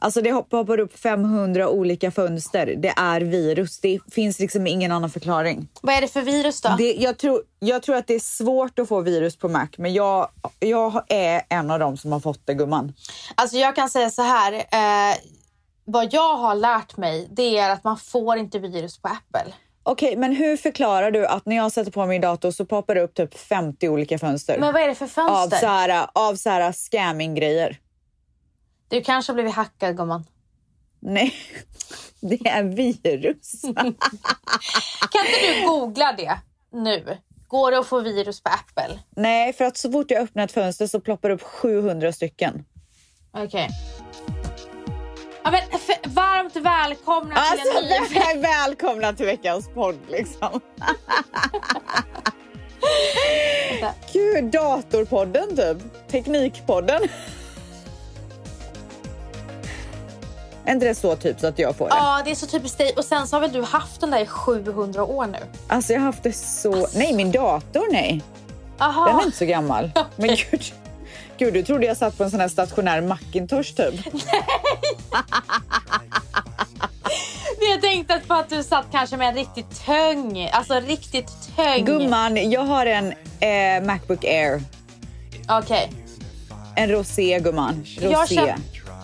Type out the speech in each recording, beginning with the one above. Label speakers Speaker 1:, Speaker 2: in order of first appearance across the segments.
Speaker 1: Alltså det hopp- hoppar upp 500 olika fönster. Det är virus. Det finns liksom ingen annan förklaring.
Speaker 2: Vad är det för virus då?
Speaker 1: Det, jag, tror, jag tror att det är svårt att få virus på Mac, men jag, jag är en av dem som har fått det, gumman.
Speaker 2: Alltså jag kan säga så här. Eh, vad jag har lärt mig det är att man får inte virus på Apple.
Speaker 1: Okej, men hur förklarar du att när jag sätter på min dator så poppar det upp typ 50 olika fönster?
Speaker 2: Men vad är det för
Speaker 1: av
Speaker 2: fönster?
Speaker 1: så här, av så här scamming-grejer.
Speaker 2: Du kanske har blivit hackad gumman.
Speaker 1: Nej, det är virus.
Speaker 2: Kan inte du googla det nu? Går det att få virus på Apple?
Speaker 1: Nej, för att så fort jag öppnar ett fönster så ploppar det upp 700 stycken.
Speaker 2: Okej. Ja, men f- varmt välkomna till
Speaker 1: Alltså,
Speaker 2: en ny...
Speaker 1: väl, välkomna till veckans podd liksom. Gud, datorpodden typ. Teknikpodden. Är inte det så typ så att jag får det?
Speaker 2: Ja, det är så typiskt dig. Och sen så har väl du haft den där i 700 år nu?
Speaker 1: Alltså jag har haft det så... Nej, min dator nej. Den är
Speaker 2: Aha.
Speaker 1: inte så gammal. Men gud. Gud, du trodde jag satt på en sån här stationär Macintosh typ.
Speaker 2: Jag tänkte på att du satt kanske med en riktigt töng. Alltså riktigt töng.
Speaker 1: Gumman, jag har en eh, Macbook Air.
Speaker 2: Okej.
Speaker 1: En rosé, gumman. Rosé.
Speaker 2: Jag, känner,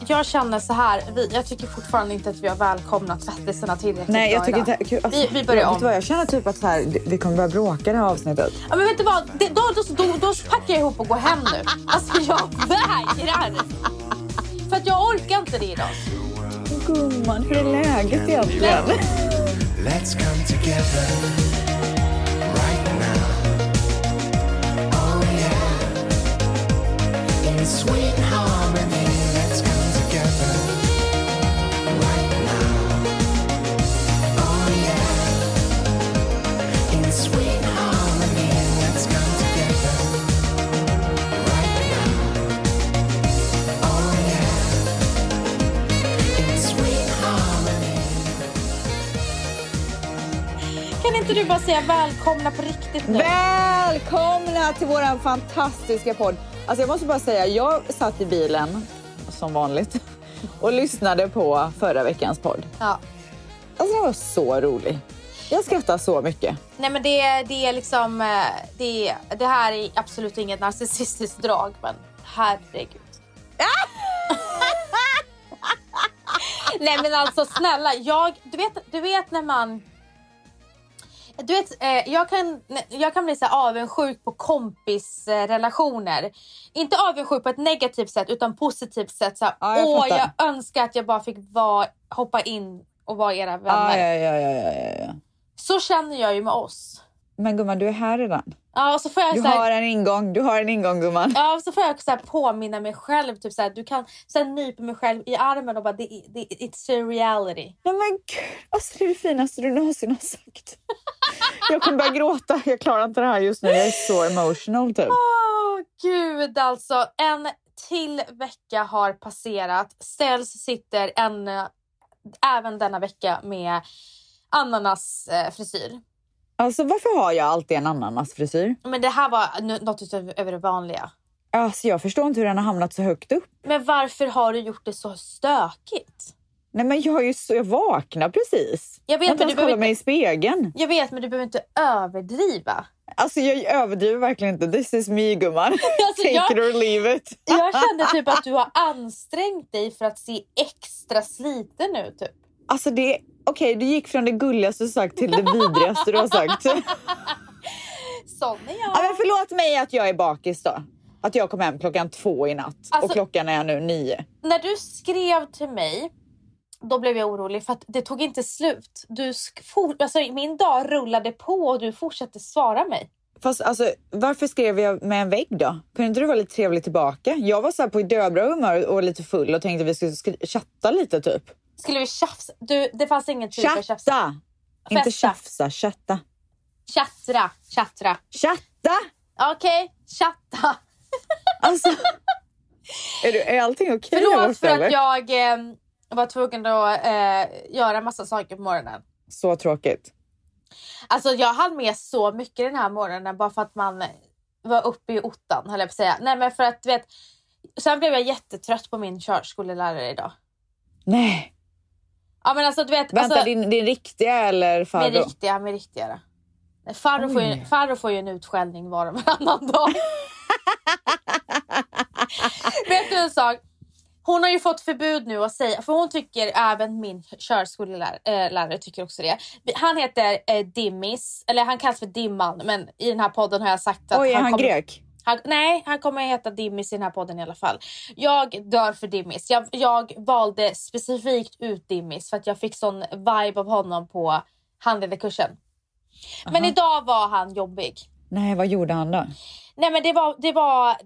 Speaker 2: jag känner så här. Vi, jag tycker fortfarande inte att vi har välkomnat tvättisarna tillräckligt
Speaker 1: Nej,
Speaker 2: bra
Speaker 1: jag tycker
Speaker 2: idag.
Speaker 1: inte... Gud, alltså,
Speaker 2: Vi, vi börjar
Speaker 1: vet
Speaker 2: om.
Speaker 1: du vad, jag känner typ att så här, det- vi kommer börja bråka det här avsnittet.
Speaker 2: Ja, men vet du vad? Det, då, då, då, då packar jag ihop och går hem nu. Alltså jag vägrar. För att jag orkar inte det idag.
Speaker 1: Gumman, hur är läget egentligen?
Speaker 3: Let's come together right now. Oh yeah. In sweet harmony, let's come together right now. Oh yeah. In sweet harmony, let's come together right now. Oh yeah. In sweet harmony.
Speaker 2: Kan inte du bara säga välkomna på riktigt nu?
Speaker 1: Välkomna till våran fantastiska podd. Alltså jag måste bara säga, jag satt i bilen som vanligt och lyssnade på förra veckans podd.
Speaker 2: Ja.
Speaker 1: Alltså den var så rolig. Jag skrattar så mycket.
Speaker 2: Nej men det, det är liksom... eh, Det, är- det här är absolut inget narcissistiskt drag men herregud. Nej men alltså snälla, jag, du, vet, du vet när man... Du vet, eh, jag, kan, jag kan bli så här avundsjuk på kompisrelationer. Inte avundsjuk på ett negativt sätt utan positivt sätt. Så här,
Speaker 1: Ja, jag
Speaker 2: Åh,
Speaker 1: fattar.
Speaker 2: jag önskar att jag bara fick vara, hoppa in och vara era vänner.
Speaker 1: Ah, ja, ja, ja, ja, ja, ja.
Speaker 2: Så känner jag ju med oss.
Speaker 1: Men gumman, du är här redan.
Speaker 2: Ja, och så får jag,
Speaker 1: Du
Speaker 2: så här,
Speaker 1: har en ingång, du har en ingång gumman.
Speaker 2: ja, och så får jag så här påminna mig själv. Typ så här, du kan så här, nypa mig själv i armen och bara det, det, it's a reality.
Speaker 1: Nej men gud, alltså det är det finaste du någonsin har sagt. Jag kommer börja gråta, jag klarar inte det här just nu. Jag är så emotional typ.
Speaker 2: Åh gud alltså. En till vecka har passerat. Ställs sitter en, eh, även denna vecka med ananas eh, frisyr.
Speaker 1: Alltså varför har jag alltid en ananasfrisyr?
Speaker 2: Men det här var nu- något utöver det vanliga.
Speaker 1: Alltså jag förstår inte hur den har hamnat så högt upp.
Speaker 2: Men varför har du gjort det så stökigt?
Speaker 1: Nej men jag, är ju så, jag vaknar precis.
Speaker 2: Jag
Speaker 1: Jag
Speaker 2: vet,
Speaker 1: har inte
Speaker 2: men du
Speaker 1: ens kollat
Speaker 2: behöver
Speaker 1: mig
Speaker 2: inte,
Speaker 1: i spegeln.
Speaker 2: jag vet men du behöver inte överdriva.
Speaker 1: Alltså jag överdriver verkligen inte. This is me gumman.
Speaker 2: Alltså,
Speaker 1: Take
Speaker 2: jag-
Speaker 1: it or leave it.
Speaker 2: Jag kände typ att du har ansträngt dig för att se extra sliten ut. Typ.
Speaker 1: Alltså det... Okej, du gick från det gulligaste du sagt till det vidrigaste du har sagt.
Speaker 2: Sån är
Speaker 1: Ja, men
Speaker 2: jag.
Speaker 1: förlåt mig att jag är bakis då. Att jag kom hem klockan två i natt och
Speaker 2: Alltså-
Speaker 1: klockan är nu nio.
Speaker 2: När du skrev till mig, då blev jag orolig för att det tog inte slut. Du sk- for- alltså, min dag rullade på och du fortsatte svara mig.
Speaker 1: Fast alltså, varför skrev jag med en vägg då? Kunde inte du vara lite trevlig tillbaka? Jag var så här på dödbra humör och lite full och tänkte vi skulle skri- chatta lite typ.
Speaker 2: Skulle vi tjafsa? Du, det fanns ingen tid för tjafs.
Speaker 1: Chatta! Inte
Speaker 2: Festa.
Speaker 1: tjafsa, chatta.
Speaker 2: Tjattra, tjattra.
Speaker 1: Chatta!
Speaker 2: Okej, tjatta.
Speaker 1: Alltså, är, du, är allting okej där
Speaker 2: Förlåt
Speaker 1: borta,
Speaker 2: för
Speaker 1: eller?
Speaker 2: att jag eh, var tvungen att eh, göra massa saker på morgonen.
Speaker 1: Så tråkigt.
Speaker 2: Alltså jag hann med så mycket den här morgonen bara för att man var uppe i ottan höll jag på att säga. Nej men för att du vet. Sen blev jag jättetrött på min körskolelärare idag.
Speaker 1: Nej.
Speaker 2: Ja men alltså du vet.
Speaker 1: Vänta,
Speaker 2: alltså,
Speaker 1: din, din riktiga eller
Speaker 2: med
Speaker 1: farbror?
Speaker 2: riktiga, med riktiga då. Nej, Farro får, ju,
Speaker 1: Oj.
Speaker 2: Farro får ju en utskällning var och varannan dag. Vet du en sak? Hon har ju fått förbud nu att säga, för hon tycker även min körskolelärare eh, tycker också det. Han heter eh, Dimmis, eller han kallas för Dimman, men i den här podden har jag sagt att
Speaker 1: Oj, är han,
Speaker 2: kommer,
Speaker 1: grek?
Speaker 2: han, nej, han kommer att heta Dimmis i den här podden i alla fall. Jag dör för Dimmis. Jag, jag valde specifikt ut Dimmis för att jag fick sån vibe av honom på handledarkursen. Men
Speaker 1: Aha.
Speaker 2: idag var han jobbig.
Speaker 1: Nej, vad gjorde han då?
Speaker 2: Nej men det var, det var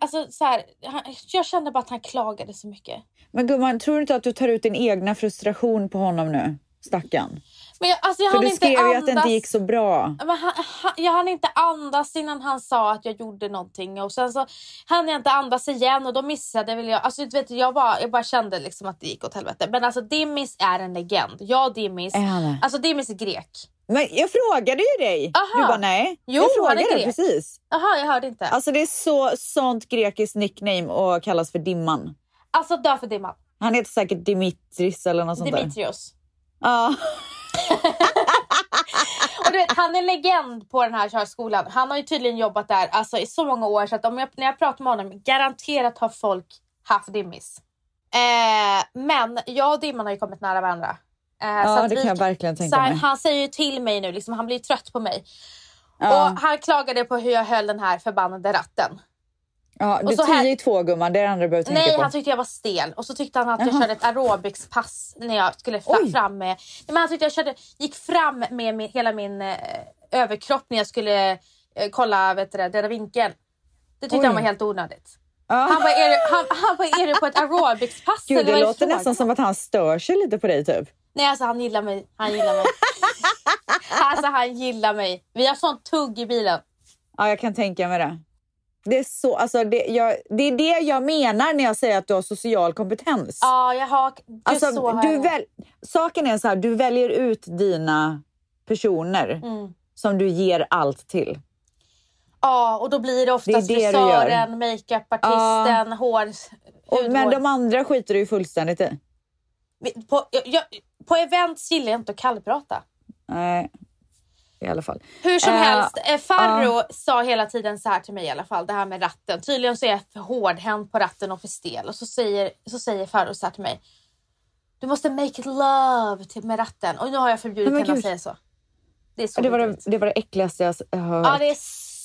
Speaker 2: alltså så här, han, jag kände bara att han klagade så mycket.
Speaker 1: Men gumman, tror du inte att du tar ut din egna frustration på honom nu? Stackarn.
Speaker 2: Men jag, alltså jag
Speaker 1: För
Speaker 2: hann
Speaker 1: du
Speaker 2: inte
Speaker 1: skrev ju att det
Speaker 2: andas.
Speaker 1: inte gick så bra.
Speaker 2: Men han, han, jag hann inte andas innan han sa att jag gjorde någonting och sen så hann jag inte andas igen och då missade väl jag. Alltså, du vet, jag, bara, jag bara kände liksom att det gick åt helvete. Men alltså Dimmis är en legend. Jag och Dimmis,
Speaker 1: Är han det?
Speaker 2: alltså Dimmis är grek.
Speaker 1: Men jag frågade ju dig!
Speaker 2: Aha.
Speaker 1: Du bara nej.
Speaker 2: Jo,
Speaker 1: jag
Speaker 2: han är
Speaker 1: frågade
Speaker 2: grek.
Speaker 1: precis.
Speaker 2: Jaha, jag hörde inte. Alltså,
Speaker 1: Alltså det är så, sånt grekiskt nickname och kallas för Dimman.
Speaker 2: Alltså, dö för Dimman.
Speaker 1: Han heter säkert Dimitris eller något sånt där.
Speaker 2: Dimitrios.
Speaker 1: Ja.
Speaker 2: Och du vet, han är legend på den här körskolan. Han har ju tydligen jobbat där alltså, i så många år så att om jag, när jag pratar med honom, garanterat har folk haft dimmis. Eh, men jag och Dimman har ju kommit nära varandra. Eh, så
Speaker 1: ja,
Speaker 2: att
Speaker 1: det
Speaker 2: vi
Speaker 1: kan jag verkligen
Speaker 2: så
Speaker 1: tänka
Speaker 2: han,
Speaker 1: mig.
Speaker 2: han säger ju till mig nu, liksom, han blir ju trött på mig.
Speaker 1: Ja.
Speaker 2: Och han klagade på hur jag höll den här förbannade ratten.
Speaker 1: Ja, du
Speaker 2: och så
Speaker 1: tio
Speaker 2: här-
Speaker 1: i två gumman, det är det andra du behöver tänka
Speaker 2: Nej,
Speaker 1: på.
Speaker 2: han tyckte jag var stel. Och så tyckte han att jag
Speaker 1: Jaha.
Speaker 2: körde ett aerobicspass när jag skulle fra-
Speaker 1: Oj.
Speaker 2: fram med... Nej, men han tyckte jag körde, gick fram med min, hela min eh, överkropp när jag skulle eh, kolla vet du, det, döda vinkeln. Det tyckte
Speaker 1: Oj.
Speaker 2: han var helt onödigt. Han
Speaker 1: ja.
Speaker 2: bara, är du, han, han bara, är du på ett aerobicspass
Speaker 1: Gud,
Speaker 2: eller
Speaker 1: det
Speaker 2: vad är
Speaker 1: låter
Speaker 2: frågan
Speaker 1: nästan som att han stör sig lite på dig typ.
Speaker 2: Nej, alltså han gillar mig. Han gillar mig. alltså han gillar mig. Vi har sånt tugg i bilen.
Speaker 1: Ja, jag kan tänka mig det. Det är, så, alltså, det, jag, det är det jag menar när jag säger att du har social kompetens.
Speaker 2: Ja, jag har... Gud, så
Speaker 1: alltså,
Speaker 2: har
Speaker 1: du
Speaker 2: jag-
Speaker 1: väl, saken är så här, du väljer ut dina personer
Speaker 2: Mm.
Speaker 1: som du ger allt till.
Speaker 2: Ja, och då blir det oftast
Speaker 1: Det är det du
Speaker 2: frisören, makeupartisten, hår...
Speaker 1: Och, men
Speaker 2: hudvård.
Speaker 1: de andra skiter du ju fullständigt i.
Speaker 2: Vi- På, jag, jag, på events gillar jag inte att kallprata.
Speaker 1: Nej, i alla fall.
Speaker 2: Hur som
Speaker 1: Eh,
Speaker 2: helst, eh, Farro sa hela tiden så här till mig i alla fall, det här med ratten. Tydligen så är jag för hårdhänt på ratten och för stel. Och så säger, så säger Farro så här till mig. Du måste make it love till, med ratten. Och nu har jag förbjudit
Speaker 1: Men
Speaker 2: henne att
Speaker 1: gud.
Speaker 2: säga så. Det är så
Speaker 1: Ja, Det var det,
Speaker 2: vidrigt.
Speaker 1: det var det äckligaste jag s- hört.
Speaker 2: Ja, det är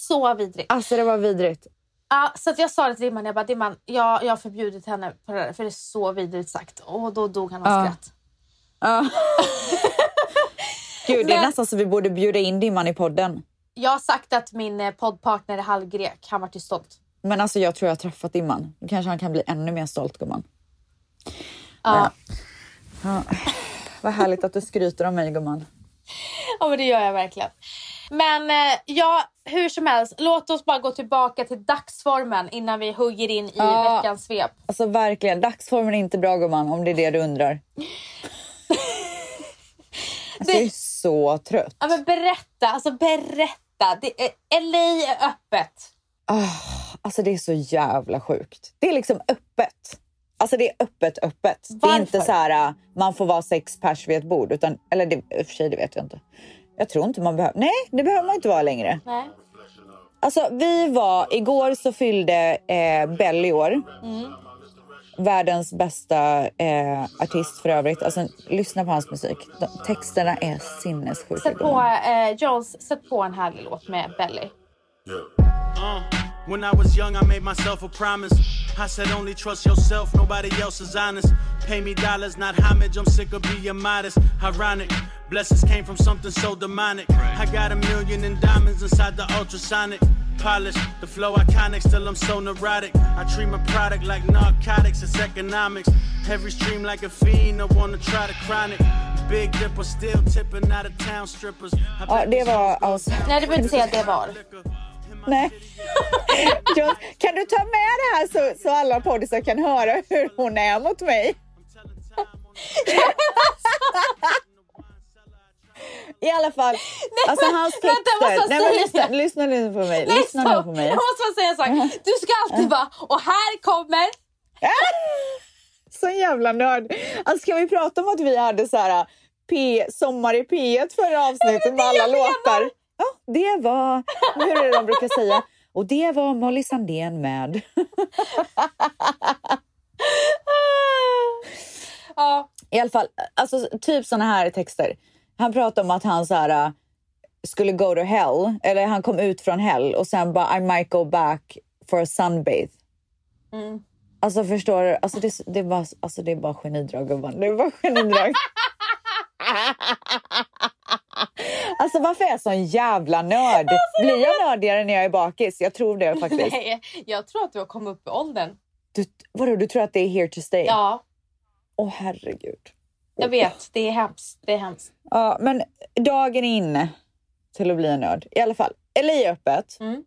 Speaker 2: så vidrigt.
Speaker 1: Alltså det var vidrigt.
Speaker 2: Ja, så att jag sa det till Dimman, jag bara Dimman, jag, jag har förbjudit henne på det där, för det är så vidrigt sagt. Och då dog han av
Speaker 1: Ja.
Speaker 2: skratt.
Speaker 1: Ja. Gud, det är
Speaker 2: Men-
Speaker 1: nästan så vi borde bjuda in Dimman i podden.
Speaker 2: Jag har sagt att min eh, poddpartner är halvgrek, han vart ju stolt.
Speaker 1: Men alltså jag tror jag har träffat Dimman. Då kanske han kan bli ännu mer stolt gumman.
Speaker 2: Ja.
Speaker 1: Vad härligt att du skryter om mig gumman.
Speaker 2: ja, men det gör jag verkligen. Men eh, ja, hur som helst, låt oss bara gå tillbaka till dagsformen innan vi hugger in i
Speaker 1: Ja.
Speaker 2: veckans svep.
Speaker 1: Alltså verkligen, dagsformen är inte bra gumman om det är det du undrar. Alltså,
Speaker 2: Det-
Speaker 1: Jag är så trött.
Speaker 2: Ja, men berätta, alltså berätta. Det är, LA är öppet.
Speaker 1: Ah, alltså det är så jävla sjukt. Det är liksom öppet. Alltså det är öppet öppet. Det är inte
Speaker 2: Varför?
Speaker 1: så här ah, man får vara sex pers vid ett bord. Utan, eller det, i och för sig, det vet jag inte. Jag tror inte man behöver. Nej, det behöver man inte vara längre.
Speaker 2: Nej.
Speaker 1: Alltså, vi var... Igår så fyllde eh, Belly år.
Speaker 2: Mm.
Speaker 1: Världens bästa eh, artist för övrigt. Alltså, lyssna på hans musik. De, texterna är sinnessjuka.
Speaker 2: Sätt på, eh, Jones, sätt på en härlig låt med Belly.
Speaker 4: Uh, when I was young, I made myself a promise. I said, only trust yourself, nobody else is honest. Pay me dollars, not homage. I'm sick of being modest. Ironic, blessings came from something so demonic. I got a million in diamonds inside the ultrasonic. Polish the flow iconic, still I'm so neurotic. I treat my product like narcotics, it's economics. Every stream like a fiend, I wanna try to chronic. Big dipper still tipping out of town strippers. I
Speaker 1: Ja,
Speaker 4: bet
Speaker 1: det
Speaker 4: this
Speaker 1: var...
Speaker 4: hoes
Speaker 1: Alltså,
Speaker 4: gon'
Speaker 2: Nej, du behöver inte säga att det var.
Speaker 1: nej. Jones, kan du ta med det här så, så alla poddisar kan höra hur hon är mot mig? I alla fall, alltså
Speaker 2: men-
Speaker 1: hans
Speaker 2: vänta, jag måste
Speaker 1: texter. Nej, men
Speaker 2: säga
Speaker 1: lyssna,
Speaker 2: det.
Speaker 1: lyssna nu på mig.
Speaker 2: Nej,
Speaker 1: Lyssna nu
Speaker 2: stopp.
Speaker 1: på mig.
Speaker 2: Jag måste bara säga en sak. Du ska alltid vara, och här kommer...
Speaker 1: sån jävla nörd. Alltså, kan vi prata om att vi hade så här, P Sommar i P1 förra avsnittet med alla låtar? Ja, det var... Hur är det de brukar säga? Och det var Molly Sandén med.
Speaker 2: Ja,
Speaker 1: I alla fall, alltså, typ såna här texter. Han pratade om att han så här, äh, skulle go to hell, eller han kom ut från hell och sen bara I might go back for a sunbathe.
Speaker 2: Mm.
Speaker 1: Alltså förstår du? Alltså, det, är så- det, är bara, alltså, det är bara genidrag gumman. Det är bara genidrag. Alltså varför är jag sån jävla nörd? Blir jag nördigare när jag är bakis? Jag tror det faktiskt.
Speaker 2: Alltså, nej, jag tror att du har kommit upp i åldern.
Speaker 1: Du, vadå, du tror att det är here to stay?
Speaker 2: Ja,
Speaker 1: Åh herregud.
Speaker 2: jag vet. Det är hemskt. Det är hemskt.
Speaker 1: Ja, men dagen är inne till att bli en nörd. I alla fall, LA är öppet.
Speaker 2: Mm.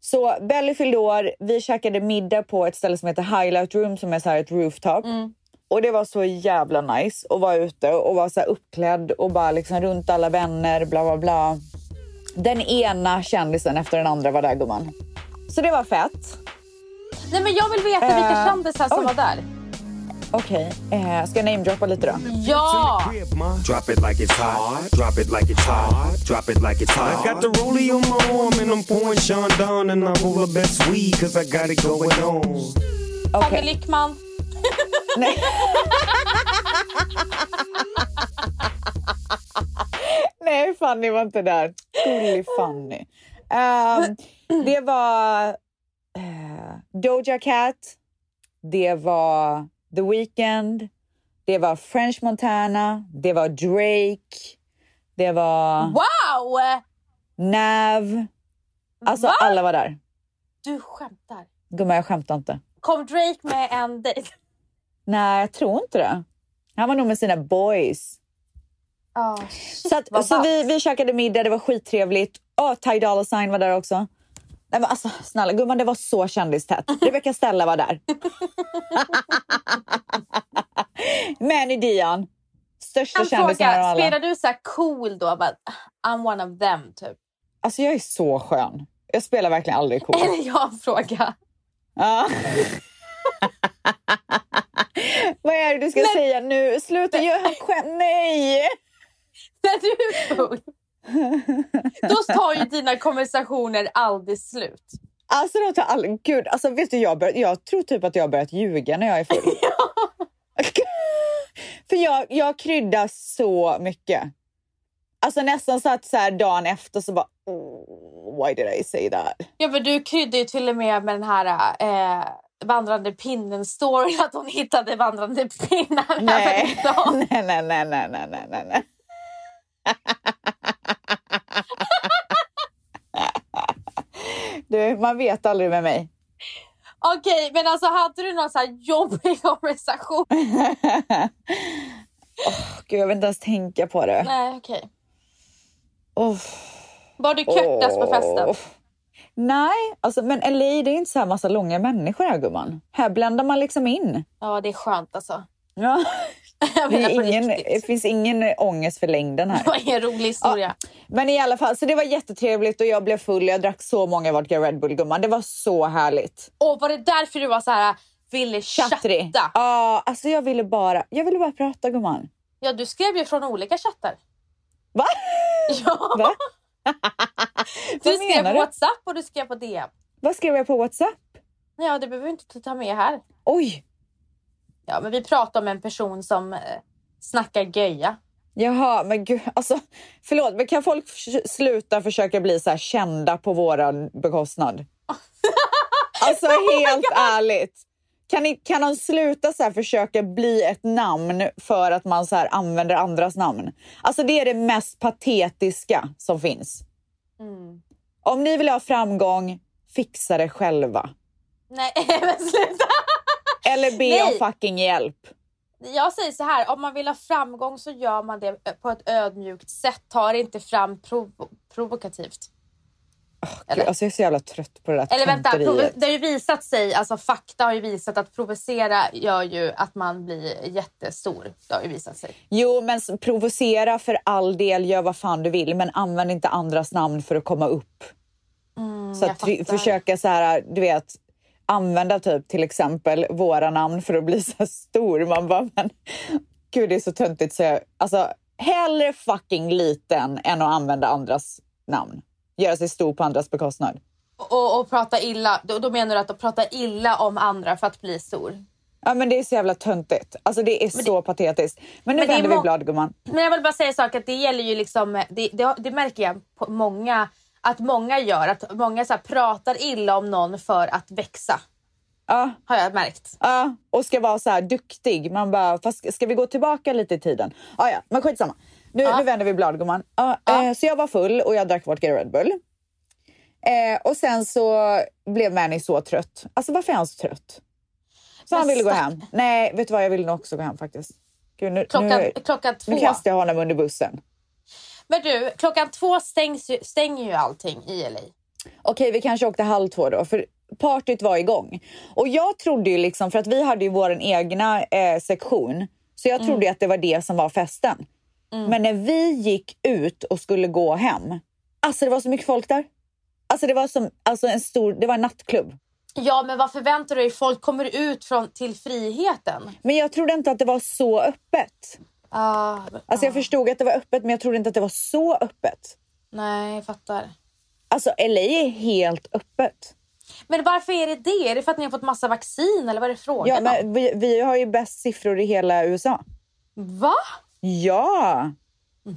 Speaker 1: Så Belly fyllde år. Vi käkade middag på ett ställe som heter Highlight Room som är så här ett rooftop.
Speaker 2: Mm.
Speaker 1: Och det var så jävla nice att vara ute och vara så här uppklädd och bara liksom runt alla vänner, bla bla bla. Den ena kändisen efter den andra var där gumman. Så det var fett.
Speaker 2: Nej, men jag vill veta vilka
Speaker 1: Eh,
Speaker 2: kändisar som
Speaker 1: oj.
Speaker 2: var där.
Speaker 1: Okej, eh, ska jag namedroppa lite då?
Speaker 2: Ja!
Speaker 5: Drop it like it's hot. Drop it like it's hot. Drop it like it's hot. I got the rollie on my arm and I'm pouring Sean down and I roll the best weed cause I got it going on.
Speaker 1: Okej.
Speaker 2: Fanny Lyckman.
Speaker 1: Nej. Nej, Fanny var inte där. Gullig Fanny. Ehm, det var eh, Doja Cat. Det var The Weeknd. Det var French Montana. Det var Drake. Det var
Speaker 2: Wow!
Speaker 1: Nav. Alltså,
Speaker 2: Va?
Speaker 1: alla var där.
Speaker 2: Du skämtar.
Speaker 1: Gumman, jag skämtar inte.
Speaker 2: Kom Drake med en dejt?
Speaker 1: Nej, jag tror inte det. Han var nog med sina boys.
Speaker 2: Ja.
Speaker 1: Så,
Speaker 2: Vad
Speaker 1: att, så
Speaker 2: ballt.
Speaker 1: vi, vi käkade middag, det var skittrevligt. Oh, Ty Dolla Sign var där också. Nej, men alltså, snälla gumman, det var så kändistätt. Rebecca Stella var där. Manny Dion, största
Speaker 2: En
Speaker 1: kändisen av
Speaker 2: fråga.
Speaker 1: alla.
Speaker 2: Spelar du så här cool då? Bara, I'm one of them, typ.
Speaker 1: Alltså, jag är så skön. Jag spelar verkligen aldrig cool.
Speaker 2: Eller jag har en fråga.
Speaker 1: Ja. Vad är det du ska säga nu? Sluta göra skämt. Nej!
Speaker 2: När du är full, då tar ju dina konversationer aldrig slut.
Speaker 1: Alltså, de tar all... Gud, alltså, vet du, jag, har börjat- jag tror typ att jag har börjat ljuga när jag är full. För jag, jag kryddar så mycket. Alltså nästan så att så här dagen efter så bara... Oh, why did I say that?
Speaker 2: Ja, men du kryddade ju till och med med den här eh, vandrande pinnen-storyn, att hon hittade vandrande pinnar över
Speaker 1: Nej,
Speaker 2: stan.
Speaker 1: nej, nej, nej, nej, nej, nej, nej, nej. Du, man vet aldrig med mig.
Speaker 2: Okej, men alltså hade du någon så här jobbig konversation?
Speaker 1: Åh, Gud, jag vill inte ens tänka på det.
Speaker 2: Nej, okej.
Speaker 1: Åh.
Speaker 2: Var du körtas på festen?
Speaker 1: Åh. Nej, alltså, men LA det är inte så här massa långa människor här gumman. Här bländar man liksom in.
Speaker 2: Ja, det är skönt alltså.
Speaker 1: Ja.
Speaker 2: Jag
Speaker 1: Det,
Speaker 2: menar på
Speaker 1: är ingen, det
Speaker 2: riktigt.
Speaker 1: finns ingen ångest för längden här.
Speaker 2: Det var ingen rolig historia.
Speaker 1: Men i alla fall, så det var jättetrevligt och jag blev full. Jag drack så många vodka Red Bull gumman. Det var så härligt.
Speaker 2: Och var det därför du var så här, ville
Speaker 1: Chattrig.
Speaker 2: chatta?
Speaker 1: Ja, alltså jag ville bara, jag ville bara prata gumman.
Speaker 2: Ja, du skrev ju från olika chattar.
Speaker 1: Va?
Speaker 2: Ja,
Speaker 1: Va?
Speaker 2: du
Speaker 1: Vad
Speaker 2: skrev
Speaker 1: menar
Speaker 2: på
Speaker 1: du?
Speaker 2: Whatsapp och du skrev på DM.
Speaker 1: Vad skrev jag på WhatsApp?
Speaker 2: Ja, det behöver vi inte ta med här.
Speaker 1: Oj,
Speaker 2: Ja, men vi pratar om en person som eh, snackar göja.
Speaker 1: Jaha, men gud, alltså, förlåt, men kan folk förs- sluta försöka bli så här kända på våran bekostnad? Alltså
Speaker 2: Oh
Speaker 1: helt ärligt. Kan, ni, kan de sluta så här försöka bli ett namn för att man så här använder andras namn? Alltså det är det mest patetiska som finns.
Speaker 2: Mm.
Speaker 1: Om ni vill ha framgång, fixa det själva.
Speaker 2: Nej, men sluta!
Speaker 1: Eller be
Speaker 2: Nej.
Speaker 1: om fucking hjälp.
Speaker 2: Jag säger så här, om man vill ha framgång så gör man det eh, på ett ödmjukt sätt. Ta det inte fram prov- provokativt.
Speaker 1: Gud, alltså jag är så jävla trött på det där
Speaker 2: Eller vänta, provo-
Speaker 1: tonteriet.
Speaker 2: det har ju visat sig, alltså fakta har ju visat att provocera gör ju att man blir jättestor. Det har ju visat sig.
Speaker 1: Jo, men s- provocera för all del, gör vad fan du vill, men använd inte andras namn för att komma upp. så att
Speaker 2: Mm, jag
Speaker 1: try-
Speaker 2: fattar.
Speaker 1: försöka så här, du vet, använda typ till exempel våra namn för att bli så här stor. Man bara, men gud det är så töntigt. Så jag, alltså, hellre fucking liten än att använda andras namn. Göra sig stor på andras bekostnad.
Speaker 2: Och, och prata illa, då, då menar du att prata illa om andra för att bli stor?
Speaker 1: Ja, men det är så jävla töntigt. Alltså, det är så patetiskt. Men nu
Speaker 2: Men det är
Speaker 1: vänder vi
Speaker 2: må-
Speaker 1: blad, gumman.
Speaker 2: Men jag vill bara säga en sak, att det gäller ju liksom, det, det, det märker jag på många, att många gör, att många så här, pratar illa om någon för att växa.
Speaker 1: Ja,
Speaker 2: Har jag märkt.
Speaker 1: ja, och ska vara så här duktig. Man bara, fast ska vi gå tillbaka lite i tiden? Ja, ja, men skitsamma. Nu, nu vänder vi blad, gumman. Ja, Eh, så jag var full och jag drack vodka Red Bull. Eh, och sen så blev Manny så trött. Alltså varför är han så trött? Så
Speaker 2: Men
Speaker 1: han ville gå
Speaker 2: stack-
Speaker 1: hem. Nej, vet du vad? Jag ville nog också gå hem faktiskt. Gud, nu,
Speaker 2: Klockan,
Speaker 1: nu,
Speaker 2: klockan två.
Speaker 1: nu kastar jag honom under bussen.
Speaker 2: Men du, klockan två stängs ju, stänger ju allting i LA.
Speaker 1: okej, vi kanske åkte halv två då, för partyt var igång. Och jag trodde ju liksom, för att vi hade ju vår egna eh, sektion, så jag trodde ju att det var det som var festen. Men när vi gick ut och skulle gå hem, alltså det var så mycket folk där. Alltså det var som alltså en stor, det var en nattklubb.
Speaker 2: Ja, men vad förväntar du dig? Folk kommer ut från, till friheten.
Speaker 1: Men jag trodde inte att det var så öppet.
Speaker 2: Ah,
Speaker 1: Alltså jag förstod att det var öppet, men jag trodde inte att det var så öppet.
Speaker 2: nej, jag fattar.
Speaker 1: Alltså LA är helt öppet.
Speaker 2: Men varför är det det? Är det för att ni har fått massa vaccin eller vad är det frågan
Speaker 1: Ja, men vi, vi har ju bäst siffror i hela USA.
Speaker 2: om? Va?
Speaker 1: Ja!
Speaker 2: Men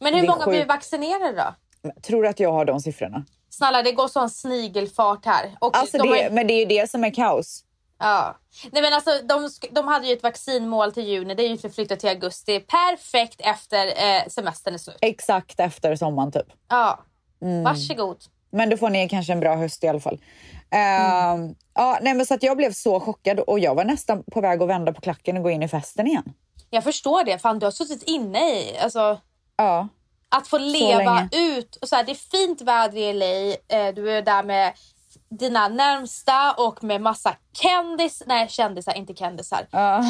Speaker 2: hur
Speaker 1: Det är
Speaker 2: många blir
Speaker 1: sjukt.
Speaker 2: vaccinerade då?
Speaker 1: Tror du att jag har de siffrorna?
Speaker 2: Snälla, det går sån snigelfart här. Och
Speaker 1: Alltså
Speaker 2: de
Speaker 1: det,
Speaker 2: har-
Speaker 1: Men det är ju det som är kaos.
Speaker 2: Ja. Nej, men alltså, de, sk- de hade ju ett vaccinmål till juni. Det är ju förflyttat till augusti. Perfekt efter eh, semestern är slut.
Speaker 1: Exakt efter sommaren typ.
Speaker 2: Ja.
Speaker 1: Mm.
Speaker 2: Varsågod.
Speaker 1: Men då får ni kanske en bra höst i alla fall. Ehm, ja, nej, men så att jag blev så chockad och jag var nästan på väg att vända på klacken och gå in i festen igen.
Speaker 2: Jag förstår det. Fan, du har suttit inne i... Alltså,
Speaker 1: Ja,
Speaker 2: att få leva
Speaker 1: länge.
Speaker 2: ut. Och så här, det är fint väder i LA. Eh, du är där med dina närmsta och med massa kändis... Nej, kändisar. Inte kändisar.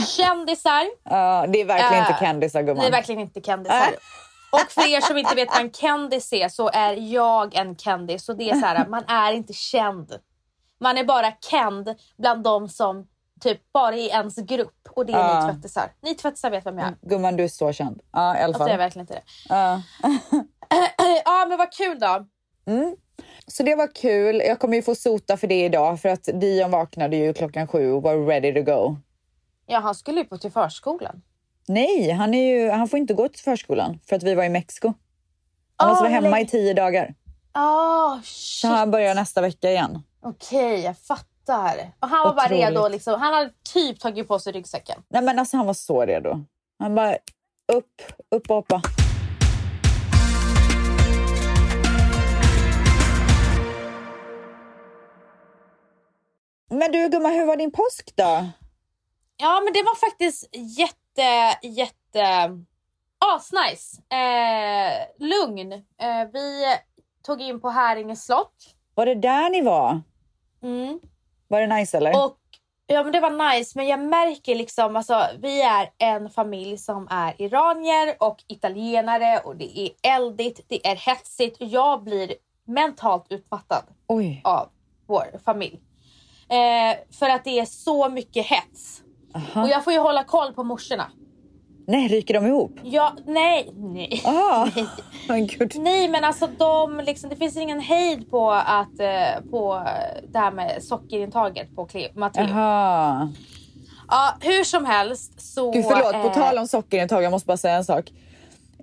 Speaker 2: Kändisar.
Speaker 1: ja, det är verkligen
Speaker 2: Äh,
Speaker 1: inte kändisar gumman.
Speaker 2: Det är verkligen inte kändisar.
Speaker 1: Äh.
Speaker 2: Och för er som inte vet vad en kändis är så är jag en kändis. Så det är så här, man är inte känd. Man är bara känd bland de som typ bara är i ens grupp. Och det är
Speaker 1: Ja.
Speaker 2: ni tvättisar. Ni tvättisar vet vem jag är.
Speaker 1: Gumman, du är så känd. Ja, i alla
Speaker 2: Alltså jag är
Speaker 1: fall.
Speaker 2: verkligen inte det.
Speaker 1: Ja.
Speaker 2: Ja men vad kul då.
Speaker 1: Så det var kul. Jag kommer ju få sota för det idag för att Dion vaknade ju klockan sju och var ready to go.
Speaker 2: Ja han skulle ju på till förskolan.
Speaker 1: Nej, han, är ju, han får inte gå till förskolan för att vi var i Mexiko. Han måste
Speaker 2: Åh,
Speaker 1: vara hemma
Speaker 2: lägg-
Speaker 1: i tio dagar.
Speaker 2: Ah
Speaker 1: Så
Speaker 2: shit.
Speaker 1: han börjar nästa vecka igen.
Speaker 2: Okej jag fattar. Och han var bara
Speaker 1: Otroligt.
Speaker 2: redo liksom. Han hade typ tagit på sig ryggsäcken.
Speaker 1: Nej men alltså han var så redo. Han bara upp, upp och hoppa. Men du gumman, hur var din påsk då?
Speaker 2: Ja, men det var faktiskt jätte, jätte asnice. Eh, lugn. Eh, vi tog in på Häringe slott.
Speaker 1: Var det där ni var?
Speaker 2: Mm.
Speaker 1: Var det nice eller?
Speaker 2: Och ja, men det var nice, men jag märker liksom, alltså, vi är en familj som är iranier och italienare och det är eldigt, det är hetsigt och jag blir mentalt utmattad
Speaker 1: Oj.
Speaker 2: av vår familj. Eh, för att det är så mycket hets.
Speaker 1: Aha.
Speaker 2: Och jag får ju hålla koll på morsorna.
Speaker 1: Nej, ryker de ihop?
Speaker 2: Ja, nej, nej.
Speaker 1: Aha. Men gud.
Speaker 2: Nej, men alltså de, liksom, det finns ingen hejd på, att, eh, på det här med sockerintaget på Cleo, Matteo.
Speaker 1: Aha.
Speaker 2: Ja, hur som helst så...
Speaker 1: Gud, förlåt. På
Speaker 2: eh,
Speaker 1: tal om sockerintag, jag måste bara säga en sak.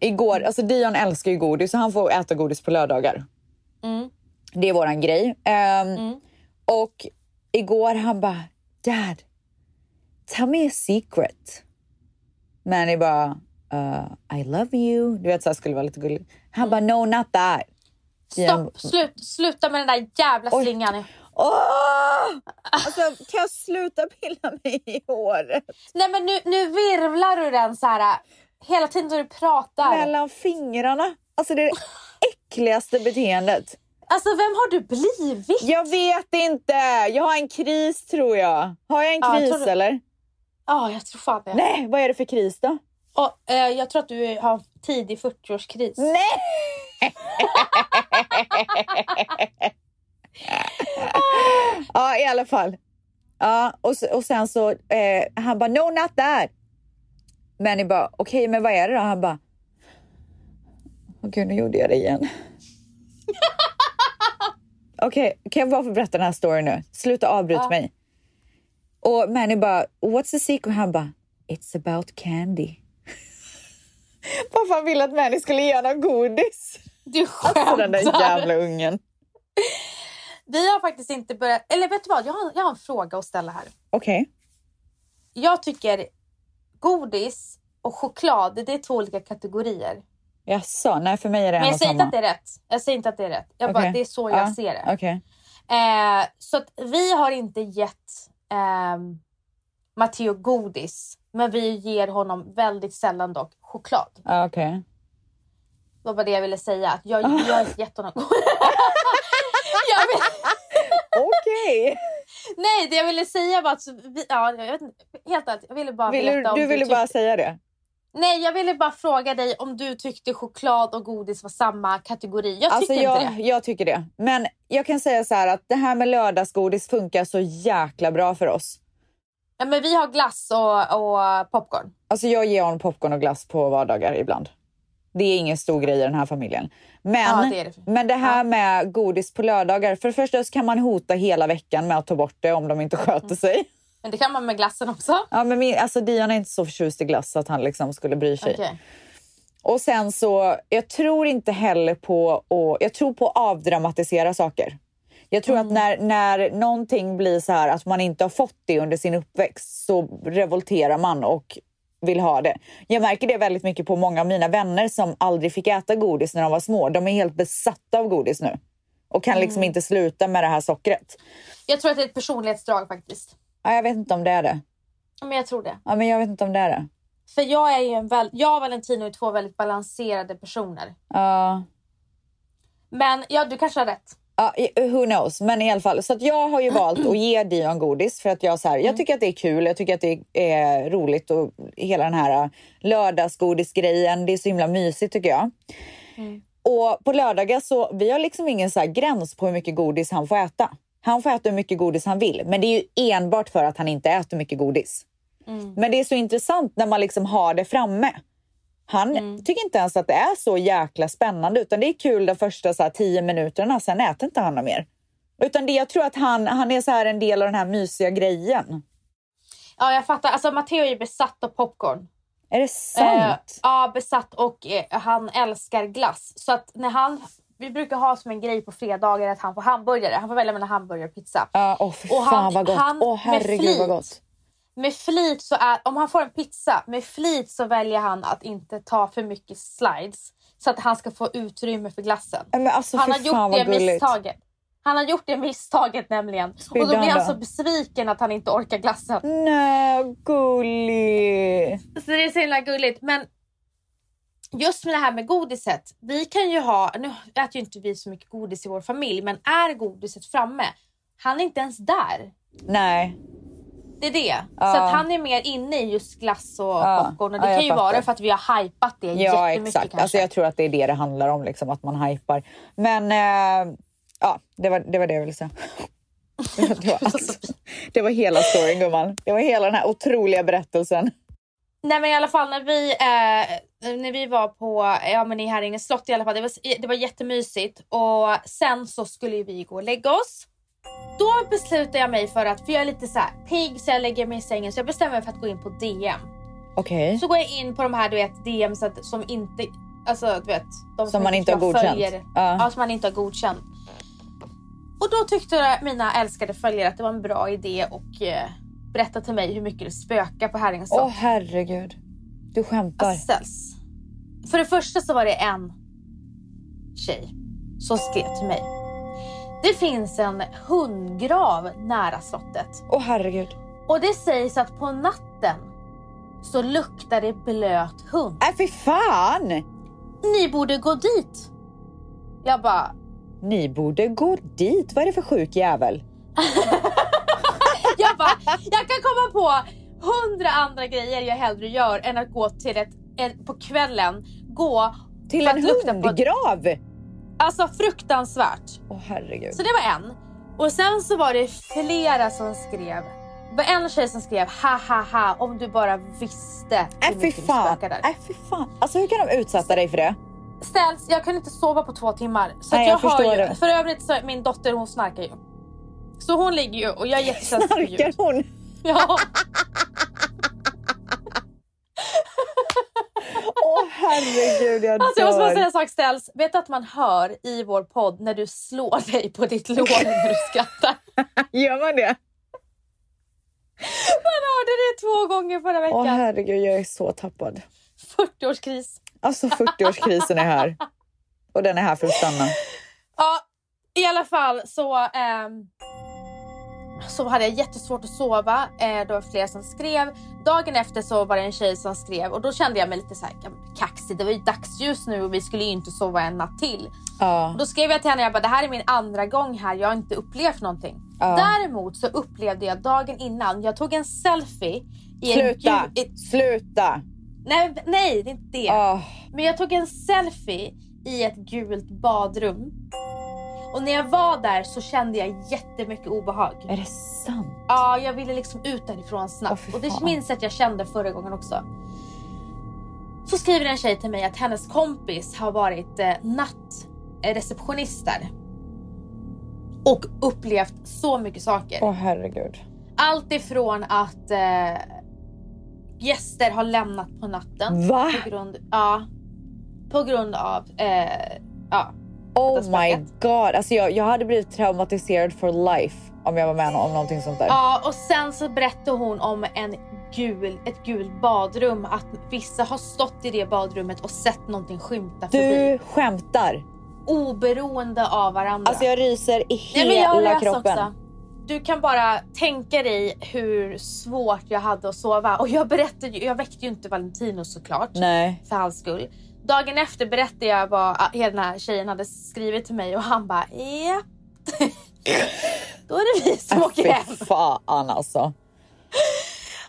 Speaker 1: Igår, alltså Dion älskar ju godis så han får äta godis på lördagar.
Speaker 2: Mm.
Speaker 1: Det är våran grej. Ehm, Och igår han bara, Dad, tell me a secret. Manny bara, "Uh, I love you. Du vet, så här skulle vara lite gullig. Han bara, no not that. Dion-
Speaker 2: Stopp, slut, sluta med den där jävla
Speaker 1: Oj.
Speaker 2: slingan.
Speaker 1: Åh! Alltså, kan jag sluta pilla mig i håret?
Speaker 2: Nej, men nu, nu virvlar du den så här hela tiden när du pratar.
Speaker 1: Mellan fingrarna. Alltså det är det äckligaste beteendet.
Speaker 2: Alltså, vem har du blivit?
Speaker 1: Jag vet inte. Jag har en kris tror jag. Har jag en
Speaker 2: Ja, jag
Speaker 1: kris
Speaker 2: tror du-
Speaker 1: eller?
Speaker 2: Ja, jag tror fan det.
Speaker 1: Nej, vad är det för kris då?
Speaker 2: Och, eh, jag tror att du har tidig 40-årskris.
Speaker 1: Nej! Ja, i alla fall. Ja, och, s- och sen så, eh, han bara, no not that. Manny bara, okej men vad är det då? Han bara, åh gud nu gjorde jag det igen. okej, kan jag bara få berätta den här storyn nu? Sluta avbryt mig. Och Manny bara, what's the secret? Han bara, it's about candy. Pappa ville att Manny skulle ge honom godis.
Speaker 2: Du
Speaker 1: Alltså den där
Speaker 2: skämtar.
Speaker 1: jävla ungen.
Speaker 2: Vi har faktiskt inte börjat... Eller vet du vad? Jag har, jag har en fråga att ställa här.
Speaker 1: Okej.
Speaker 2: Jag tycker godis och choklad, det är två olika kategorier.
Speaker 1: Jaså, nej för mig är det en
Speaker 2: Men jag
Speaker 1: och
Speaker 2: säger
Speaker 1: samma.
Speaker 2: inte att det är rätt. Jag säger inte att det är rätt. Jag bara,
Speaker 1: Okej.
Speaker 2: det är så jag
Speaker 1: Ja,
Speaker 2: ser det.
Speaker 1: Okej.
Speaker 2: Eh, så att vi har inte gett ehm, Matteo godis, men vi ger honom väldigt sällan dock choklad.
Speaker 1: Ja, okej.
Speaker 2: Det var bara det jag ville säga. Att jag, jag har inte gett honom godis. jag vill,
Speaker 1: Okej.
Speaker 2: nej, det jag ville säga var att... Vi, ja, jag vet inte, helt ärligt, jag ville bara
Speaker 1: Vill
Speaker 2: veta
Speaker 1: du-
Speaker 2: om
Speaker 1: Du ville
Speaker 2: tyckte,
Speaker 1: bara säga det?
Speaker 2: Nej, jag ville bara fråga dig om du tyckte choklad och godis var samma kategori. Jag
Speaker 1: Alltså
Speaker 2: tycker inte
Speaker 1: jag,
Speaker 2: det.
Speaker 1: jag tycker det. Men jag kan säga så här att det här med lördagsgodis funkar så jäkla bra för oss.
Speaker 2: Ja, men vi har glass och, och popcorn.
Speaker 1: Alltså jag ger honom popcorn och glass på vardagar ibland. Det är ingen stor grej i den här familjen. Men
Speaker 2: Ja, det är det.
Speaker 1: Men det här med godis på lördagar. För det första så kan man hota hela veckan med att ta bort det om de inte
Speaker 2: Mm.
Speaker 1: sköter sig.
Speaker 2: Men det kan man med glassen också.
Speaker 1: Ja, men min, alltså Dion är inte så förtjust i glass att han liksom skulle bry sig.
Speaker 2: Okej.
Speaker 1: Och sen så, jag tror inte heller på att, jag tror på att avdramatisera saker. Jag tror att när, när någonting blir så här att man inte har fått det under sin uppväxt så revolterar man och vill ha det. Jag märker det väldigt mycket på många av mina vänner som aldrig fick äta godis när de var små. De är helt besatta av godis nu och kan liksom inte sluta med det här sockret.
Speaker 2: Jag tror att det är ett personlighetsdrag faktiskt.
Speaker 1: Ja, jag vet inte om det är det.
Speaker 2: Ja, Men jag tror det.
Speaker 1: Ja, men jag vet inte om det är det.
Speaker 2: För jag är ju en väl, jag och Valentino är två väldigt balanserade personer.
Speaker 1: Ja.
Speaker 2: Men ja, du kanske har rätt.
Speaker 1: Ja, i- who knows. Men i alla fall. Så att jag har ju valt att ge Dion godis för att jag, så här, jag tycker att det är kul. Jag tycker att det är roligt och hela den här eh, lördagsgodisgrejen. Det är så himla mysigt tycker jag. Och på lördagar så vi har liksom ingen så här gräns på hur mycket godis han får äta. Han får äta hur mycket godis han vill. Men det är ju enbart för att han inte äter mycket godis. Men det är så intressant när man liksom har det framme. Han
Speaker 2: Mm.
Speaker 1: tycker inte ens att det är så jäkla spännande utan det är kul de första så här, tio minuterna, sen äter inte han något mer. Utan det, jag tror att han, han är så här en del av den här mysiga grejen.
Speaker 2: Ja, jag fattar. Alltså Matteo är ju besatt av popcorn.
Speaker 1: Är det sant?
Speaker 2: Eh, ja, besatt och eh, han älskar glass. Så att när han... Vi brukar ha som en grej på fredagar att han får hamburgare. Han får välja mellan hamburgare och pizza.
Speaker 1: Ja, åh fy
Speaker 2: och
Speaker 1: fan
Speaker 2: han-
Speaker 1: vad gott.
Speaker 2: han-
Speaker 1: åh
Speaker 2: med
Speaker 1: herregud vad
Speaker 2: flit.
Speaker 1: gott.
Speaker 2: Med flit så är... Om han får en pizza, med flit så väljer han att inte ta för mycket slides. Så att han ska få utrymme för glassen.
Speaker 1: Nej, Men alltså,
Speaker 2: han
Speaker 1: fy
Speaker 2: har
Speaker 1: fan,
Speaker 2: gjort
Speaker 1: vad
Speaker 2: det
Speaker 1: gulligt.
Speaker 2: misstaget. Han har gjort det misstaget nämligen. och
Speaker 1: han
Speaker 2: då blir han
Speaker 1: då?
Speaker 2: så besviken att han inte orkar glassen.
Speaker 1: Nej, vad gullig.
Speaker 2: Mm. Så det är så himla gulligt. Men just med det här med godiset. Vi kan ju ha, nu äter ju inte vi så mycket godis i vår familj, men är godiset framme, han är inte ens där.
Speaker 1: Nej,
Speaker 2: Det är det. Så
Speaker 1: Ja.
Speaker 2: att han är mer inne i just glass och
Speaker 1: Ja.
Speaker 2: popcorn. Och
Speaker 1: Ja,
Speaker 2: det
Speaker 1: jag
Speaker 2: kan ju vara
Speaker 1: fattar.
Speaker 2: för att vi har hypat det
Speaker 1: ja
Speaker 2: jättemycket
Speaker 1: exakt.
Speaker 2: kanske.
Speaker 1: Alltså, jag tror att det är det det handlar om, liksom, att man hypar. Men eh, ja, det var, det var det jag ville säga. Det var, allt. det var hela storyn gumman. Det var hela den här otroliga berättelsen.
Speaker 2: Nej men i alla fall när vi, eh, när vi var på ja, men i Herringens slott i alla fall. Det var, det var jättemysigt. Och sen så skulle ju vi gå och lägga oss. Då beslutade jag mig för att, för jag är lite så här pigg så jag lägger mig i sängen så jag bestämmer mig för att gå in på DM.
Speaker 1: Okej.
Speaker 2: Så går jag in på de här du vet DM så att, som inte, alltså du vet. De
Speaker 1: Som man inte har
Speaker 2: jag
Speaker 1: godkänt. Ja.
Speaker 2: Ja. som man inte har godkänt. Och då tyckte mina älskade följare att det var en bra idé och eh, berätta till mig hur mycket det spökar på Herringens slott.
Speaker 1: Åh herregud. Du skämtar.
Speaker 2: Alltså. Assels. För det första så var det en tjej som skrev till mig. Det finns en hundgrav nära slottet
Speaker 1: Åh herregud.
Speaker 2: och det sägs att på natten så luktar det blöt hund.
Speaker 1: Nej Äh, fy fan!
Speaker 2: Ni borde gå dit. Jag bara,
Speaker 1: Ni borde gå dit. Vad är det för sjuk jävel?
Speaker 2: jag bara, jag kan komma på hundra andra grejer jag hellre gör än att gå till ett, en- på kvällen, gå
Speaker 1: Till
Speaker 2: för
Speaker 1: en
Speaker 2: att lukta på-
Speaker 1: hundgrav! Åh
Speaker 2: Alltså fruktansvärt.
Speaker 1: herregud.
Speaker 2: Så det var en. Och sen så var det flera som skrev. Det var en tjej som skrev ha ha ha om du bara visste
Speaker 1: Äh, fy
Speaker 2: du
Speaker 1: fan.
Speaker 2: spökar där.
Speaker 1: Äh, fy fan. Alltså, hur kan de utsätta dig för det?
Speaker 2: Ställs, jag kunde inte sova på två timmar. Så
Speaker 1: Nej, jag
Speaker 2: att jag, har
Speaker 1: förstår
Speaker 2: ju,
Speaker 1: det.
Speaker 2: För övrigt så min dotter hon snarkar ju. Så hon ligger ju och jag är jättekänslig för
Speaker 1: Snarkar
Speaker 2: ljud.
Speaker 1: hon?
Speaker 2: Ja.
Speaker 1: Åh herregud, jag
Speaker 2: Alltså jag måste bara
Speaker 1: dör.
Speaker 2: säga en sak Ställs. Vet du att man hör i vår podd när du slår dig på ditt lår när du skrattar?
Speaker 1: Gör man det?
Speaker 2: Man hörde det två gånger förra
Speaker 1: Åh
Speaker 2: veckan.
Speaker 1: herregud, jag är så tappad.
Speaker 2: 40-årskris.
Speaker 1: Alltså 40-årskrisen är här. Och den är här för att stanna.
Speaker 2: Ja, i alla fall så, ehm, så hade jag jättesvårt att sova. Eh, det var flera som skrev. Dagen efter så var det en tjej som skrev och då kände jag mig lite så här ja, men kaxig. Det var ju dagsljus nu och vi skulle ju inte sova en natt till.
Speaker 1: Ja,
Speaker 2: Då skrev jag till henne, jag bara, det här är min andra gång här, jag har inte upplevt någonting.
Speaker 1: Ja.
Speaker 2: Däremot så upplevde jag dagen innan, jag tog en selfie i
Speaker 1: sluta!
Speaker 2: en gul... i-
Speaker 1: Sluta!
Speaker 2: Nej, nej, det är inte det.
Speaker 1: Ah,
Speaker 2: Men jag tog en selfie i ett gult badrum. Och när jag var där så kände jag jättemycket obehag.
Speaker 1: är det sant?
Speaker 2: Ja, jag ville liksom ut därifrån
Speaker 1: Åh,
Speaker 2: snabbt.
Speaker 1: fy
Speaker 2: och det
Speaker 1: fan.
Speaker 2: minns jag att jag kände förra gången också. Så skriver en tjej till mig att hennes kompis har varit eh, nattreceptionist där. Och upplevt så mycket saker.
Speaker 1: Åh herregud.
Speaker 2: Allt ifrån att eh, gäster har lämnat på natten.
Speaker 1: Va?
Speaker 2: På grund, ja, på grund av... Eh, ja.
Speaker 1: Oh my god. Alltså jag, jag hade blivit traumatiserad for life om jag var med om någonting sånt där.
Speaker 2: ja, och sen så berättade hon om en gul, ett gult badrum. Att vissa har stått i det badrummet och sett någonting skymta förbi.
Speaker 1: Du skämtar!
Speaker 2: Oberoende av varandra.
Speaker 1: Alltså jag ryser i
Speaker 2: Nej, men jag har
Speaker 1: hela
Speaker 2: läst
Speaker 1: kroppen.
Speaker 2: också. Du kan bara tänka dig hur svårt jag hade att sova. Och jag berättade ju, jag väckte ju inte Valentino såklart.
Speaker 1: Nej.
Speaker 2: för hans skull. Dagen efter berättade jag vad ah, hela den här tjejen hade skrivit till mig och han bara ja. Då är det vi som
Speaker 1: Äh,
Speaker 2: åker hem.
Speaker 1: Fy fan alltså.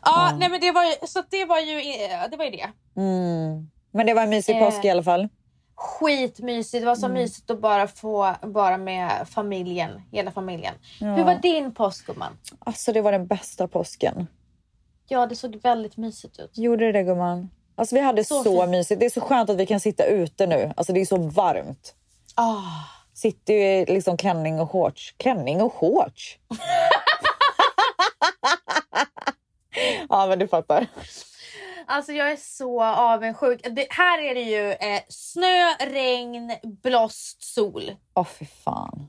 Speaker 2: Ja, nej men det var ju, så att det var ju eh, det. Var ju det.
Speaker 1: Mm. Men det var en mysig
Speaker 2: Eh.
Speaker 1: påsk i alla fall.
Speaker 2: Skitmysigt. Det var så mysigt att bara få vara med familjen, hela familjen. Hur var din påsk gumman?
Speaker 1: Alltså det var den bästa påsken.
Speaker 2: Ja, det såg väldigt mysigt ut.
Speaker 1: Gjorde det det gumman? Alltså vi hade så,
Speaker 2: Så fint.
Speaker 1: mysigt. Det är så skönt att vi kan sitta ute nu. Alltså det är så varmt.
Speaker 2: Ah,
Speaker 1: Sitter ju i liksom klänning och shorts. Klänning och shorts? ja men du fattar.
Speaker 2: Alltså jag är så avundsjuk. Det, här är det ju eh, snö, regn, blåst, sol.
Speaker 1: Åh fy fan.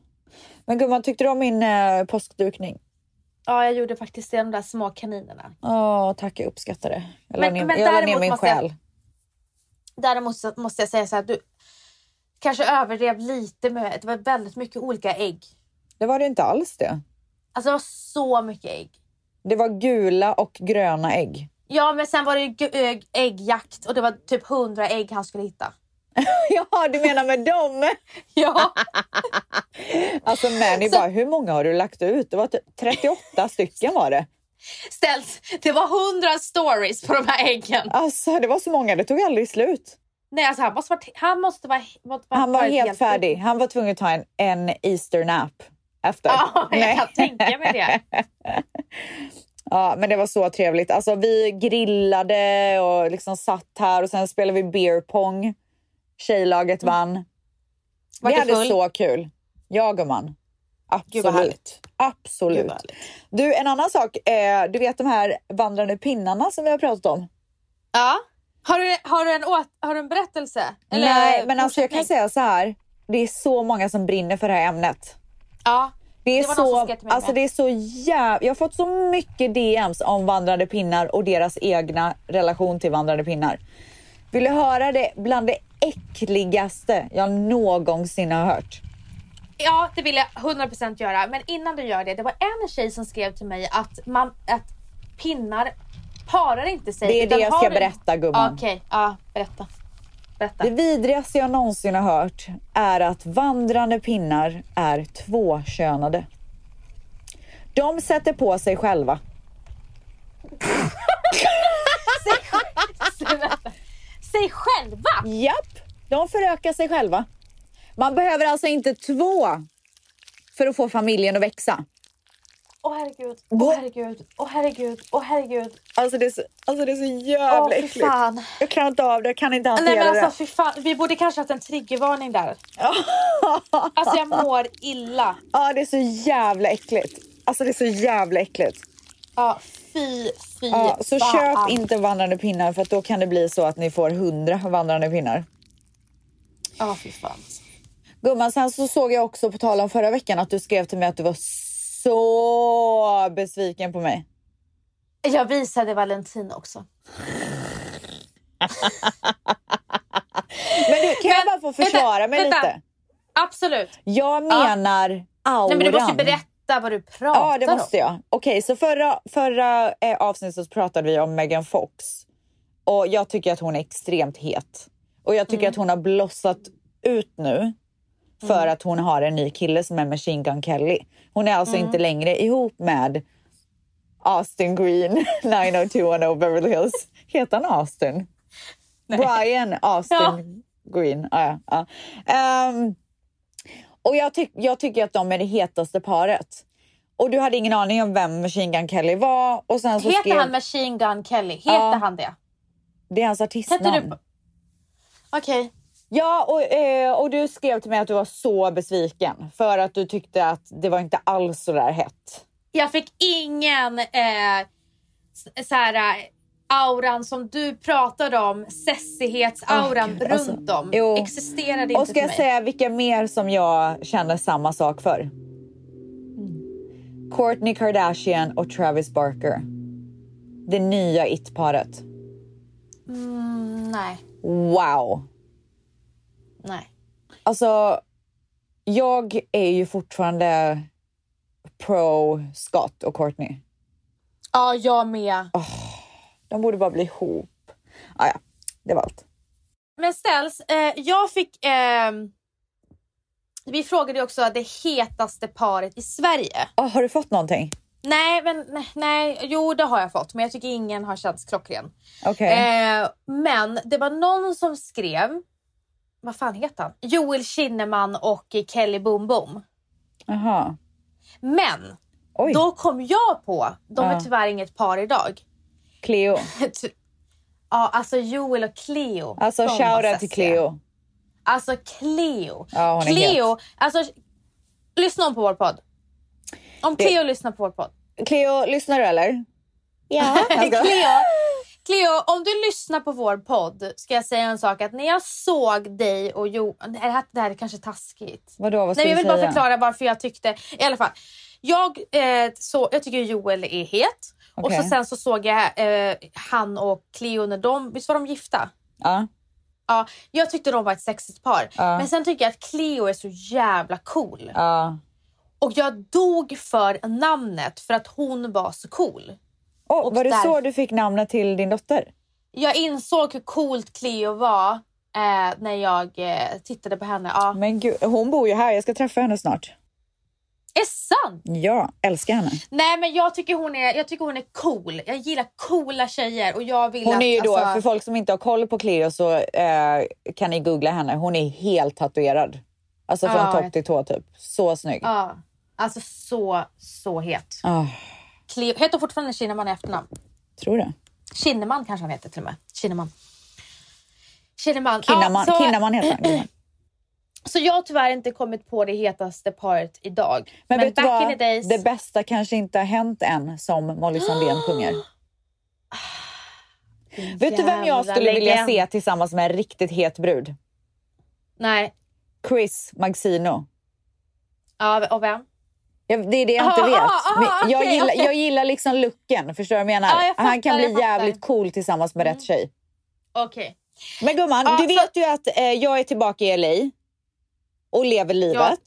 Speaker 1: Men gumman tyckte du om min eh, påskdukning?
Speaker 2: Ja, jag gjorde faktiskt det, de där små kaninerna.
Speaker 1: Åh tack jag uppskattar det. Jag la
Speaker 2: Men-
Speaker 1: ner,
Speaker 2: men
Speaker 1: jag la ner
Speaker 2: däremot
Speaker 1: min
Speaker 2: måste jag-
Speaker 1: själ.
Speaker 2: Däremot så måste jag säga så här, du kanske överdrev lite med, det var väldigt mycket olika ägg.
Speaker 1: Det var det inte alls det.
Speaker 2: Alltså det var så mycket ägg.
Speaker 1: Det var gula och gröna ägg.
Speaker 2: Ja men sen var det ju gu- ägg- äggjakt och det var typ 100 ägg han skulle hitta.
Speaker 1: Ja, du menar med dem?
Speaker 2: Ja,
Speaker 1: Alltså Manny bara, hur många har du lagt ut? Det var typ 38 stycken var det.
Speaker 2: ställs. Det var 100 stories på de här äggen.
Speaker 1: Alltså det var så många, det tog aldrig slut.
Speaker 2: Nej alltså han måste vara, han måste vara, måste vara
Speaker 1: Han var
Speaker 2: varit
Speaker 1: helt färdig. Han var tvungen att ta en, en Easter nap efter.
Speaker 2: Ja, jag
Speaker 1: Nej.
Speaker 2: kan tänka mig det.
Speaker 1: Ja, men det var så trevligt. Alltså vi grillade och liksom satt här och sen spelade vi beer pong. Tjejlaget vann.
Speaker 2: Mm. Var
Speaker 1: vi
Speaker 2: du
Speaker 1: hade
Speaker 2: full?
Speaker 1: så kul. Jag gumman.
Speaker 2: Gud, vad
Speaker 1: Absolut.
Speaker 2: härligt.
Speaker 1: Absolut.
Speaker 2: Gud, vad härligt.
Speaker 1: Du, en annan sak. Eh, du vet de här vandrande pinnarna som vi har pratat om?
Speaker 2: Ja. Har du, har, du en åt, har du en berättelse? Eller
Speaker 1: Nej, men alltså jag kan säga
Speaker 2: fortsättning?
Speaker 1: så här. Det är så många som brinner för det här ämnet.
Speaker 2: Ja.
Speaker 1: Det är,
Speaker 2: Det var någon som
Speaker 1: så,
Speaker 2: skrev till mig
Speaker 1: alltså
Speaker 2: med.
Speaker 1: det är så jäv... Jag har fått så mycket DMs om vandrande pinnar och deras egna relation till vandrande pinnar. Vill du höra det bland det äckligaste jag någonsin har hört?
Speaker 2: Ja, det vill jag 100% göra. Men innan du gör det, det var en tjej som skrev till mig att, man, att pinnar parar inte sig.
Speaker 1: Det är
Speaker 2: utan
Speaker 1: det jag
Speaker 2: har
Speaker 1: ska
Speaker 2: du-
Speaker 1: berätta, gumman.
Speaker 2: Ja, Okej, ja, berätta. Berätta.
Speaker 1: Det vidrigaste jag någonsin har hört är att vandrande pinnar är tvåkönade. De sätter på sig själva.
Speaker 2: Säg själva!
Speaker 1: Japp, de förökar sig själva. Man behöver alltså inte två för att få familjen att växa.
Speaker 2: Åh herregud, åh herregud, åh herregud, åh herregud.
Speaker 1: Alltså det är så, alltså det är så
Speaker 2: Åh
Speaker 1: jävla
Speaker 2: fy
Speaker 1: äckligt.
Speaker 2: fan.
Speaker 1: Jag klarar inte av det, jag kan inte hantera
Speaker 2: Nej men
Speaker 1: det.
Speaker 2: alltså fy fan, vi borde kanske haft en triggervarning där. Alltså jag mår illa.
Speaker 1: Ja, det är så jävla äckligt. Alltså det är så jävla äckligt.
Speaker 2: Ja, fy, fy
Speaker 1: Ja, så
Speaker 2: fan.
Speaker 1: köp inte vandrande pinnar för att då kan det bli så att ni får hundra vandrande pinnar.
Speaker 2: Ja, fy fan.
Speaker 1: Gumman, sen så såg jag också på tal om förra veckan att du skrev till mig att du var så besviken på mig.
Speaker 2: Jag visade Valentin också.
Speaker 1: Men du, kan jag
Speaker 2: Men,
Speaker 1: bara få försvara
Speaker 2: vänta,
Speaker 1: mig
Speaker 2: vänta.
Speaker 1: lite?
Speaker 2: Absolut.
Speaker 1: Jag menar auran.
Speaker 2: Nej, men du måste ju berätta vad du pratar
Speaker 1: Ja, det måste
Speaker 2: om.
Speaker 1: jag. Okej, så förra, förra eh, avsnittet så pratade vi om Megan Fox. Och jag tycker att hon är extremt het. Och jag
Speaker 2: Mm.
Speaker 1: tycker att hon har blossat ut nu. För att hon har en ny kille som är Machine Gun Kelly. Hon är alltså
Speaker 2: Mm.
Speaker 1: inte längre ihop med Austin Green, 90210 Beverly Hills. Heter han Austin? Brian Austin Green. Ah, ja, ja. Ehm, och jag, tyck- jag tycker att de är det hetaste paret. Och du hade ingen aning om vem Machine Gun Kelly var. Och sen så skrev...
Speaker 2: Heter han Machine Gun Kelly? Heter
Speaker 1: Ja.
Speaker 2: han det?
Speaker 1: Det är hans
Speaker 2: Kan inte
Speaker 1: artistnamn.
Speaker 2: du... Okej.
Speaker 1: Ja, och, eh, och du skrev till mig att du var så besviken för att du tyckte att det var inte alls så där hett.
Speaker 2: Jag fick ingen eh, s- så här, eh, auran som du pratade om,
Speaker 1: Åh,
Speaker 2: sessighet-auran
Speaker 1: Gud, alltså.
Speaker 2: runt om.
Speaker 1: Jo.
Speaker 2: Existerade
Speaker 1: Och
Speaker 2: inte
Speaker 1: ska
Speaker 2: för
Speaker 1: jag
Speaker 2: mig.
Speaker 1: säga vilka mer som jag känner samma sak för?
Speaker 2: Mm.
Speaker 1: Kourtney Kardashian och Travis Barker. Det nya it-paret.
Speaker 2: Mm, nej,
Speaker 1: Wow!
Speaker 2: nej.
Speaker 1: Alltså, jag är ju fortfarande pro Scott och Courtney.
Speaker 2: Ja, jag med.
Speaker 1: De borde bara bli ihop. Ah, ja, det var allt.
Speaker 2: Men ställs, eh, jag fick... Eh, vi frågade ju också det hetaste paret i Sverige.
Speaker 1: Ah, har du fått någonting?
Speaker 2: Nej, men nej, nej, jo det har jag fått. Men jag tycker ingen har känts klockren.
Speaker 1: Okej.
Speaker 2: Eh, men det var någon som skrev, vad fan heter han? Joel Kinnaman och Kelly Boom Boom.
Speaker 1: Jaha.
Speaker 2: Men
Speaker 1: Oj,
Speaker 2: då kom jag på, de är
Speaker 1: Ja.
Speaker 2: tyvärr inget par idag.
Speaker 1: Cleo.
Speaker 2: Ty- ja, alltså Joel och Cleo.
Speaker 1: Alltså
Speaker 2: de var
Speaker 1: shoutout till
Speaker 2: sessiga.
Speaker 1: Cleo.
Speaker 2: Alltså Cleo.
Speaker 1: Ja, hon är
Speaker 2: Cleo, alltså lyssna om på vår podd. Om Cleo lyssnar på vår podd.
Speaker 1: Cleo, lyssnar du eller? Alltså, Ja.
Speaker 2: Cleo, Cleo, om du lyssnar på vår podd ska jag säga en sak. Att när jag såg dig och Johan... Det här, det här är kanske taskigt.
Speaker 1: Vadå, vad ska
Speaker 2: Nej,
Speaker 1: du
Speaker 2: jag vill
Speaker 1: säga?
Speaker 2: bara förklara varför jag tyckte... I alla fall. Jag, eh, så, jag tycker Joel är het. Och
Speaker 1: Okej.
Speaker 2: så sen så såg jag eh, han och Cleo när de... Visst var de gifta?
Speaker 1: Ja.
Speaker 2: Ja, jag tyckte de var ett sexigt par.
Speaker 1: Ja.
Speaker 2: Men sen tycker jag att Cleo är så jävla cool.
Speaker 1: ja.
Speaker 2: Och jag dog för namnet för att hon var så cool.
Speaker 1: Oh,
Speaker 2: Och
Speaker 1: var det
Speaker 2: där-
Speaker 1: så du fick namnet till din dotter?
Speaker 2: Jag insåg hur coolt Cleo var eh, när jag eh, tittade på henne. Ja.
Speaker 1: Men gud, hon bor ju här. Jag ska träffa henne snart.
Speaker 2: Är sant?
Speaker 1: Ja, älskar henne.
Speaker 2: Nej, men jag tycker, hon är, jag tycker hon är cool. Jag gillar coola tjejer och jag vill
Speaker 1: Hon
Speaker 2: att...
Speaker 1: är ju då,
Speaker 2: alltså,
Speaker 1: för folk som inte har koll på Cleo så eh, kan ni googla henne. Hon är helt tatuerad. Alltså från
Speaker 2: Ja,
Speaker 1: topp
Speaker 2: jag-
Speaker 1: till tå typ. Så snygg.
Speaker 2: Ja, alltså så, så het.
Speaker 1: Ah,
Speaker 2: Cleo, heter hon fortfarande Kinnaman i efternamn?
Speaker 1: tror det.
Speaker 2: Kinnaman kanske han heter till och med. Kinnaman. Kinnaman.
Speaker 1: Kinnaman,
Speaker 2: ja, så,
Speaker 1: Kinnaman heter han. Kinnaman.
Speaker 2: så jag har tyvärr inte kommit på det hetaste paret idag.
Speaker 1: Men,
Speaker 2: Men,
Speaker 1: vet du
Speaker 2: back in
Speaker 1: vad?
Speaker 2: the days...
Speaker 1: Det bästa kanske inte har hänt än som Molly Sandén sjunger. Vet du vem jag
Speaker 2: jävla
Speaker 1: skulle vilja
Speaker 2: legend.
Speaker 1: se tillsammans med en riktigt het brud?
Speaker 2: Nej.
Speaker 1: Chris Maxino.
Speaker 2: Ja, och vem?
Speaker 1: Jag, det är det jag
Speaker 2: Aha,
Speaker 1: inte vet.
Speaker 2: aha, aha,
Speaker 1: Men jag,
Speaker 2: Ah, okej,
Speaker 1: gillar,
Speaker 2: okej.
Speaker 1: jag gillar liksom looken. Förstår du vad jag menar?
Speaker 2: Ja, jag fattar,
Speaker 1: Han kan bli
Speaker 2: jag fattar. Mm.
Speaker 1: jävligt cool tillsammans med rätt tjej.
Speaker 2: Okej.
Speaker 1: Men gumman,
Speaker 2: Ja,
Speaker 1: du
Speaker 2: så-
Speaker 1: vet ju att eh, jag är tillbaka i LA och lever livet.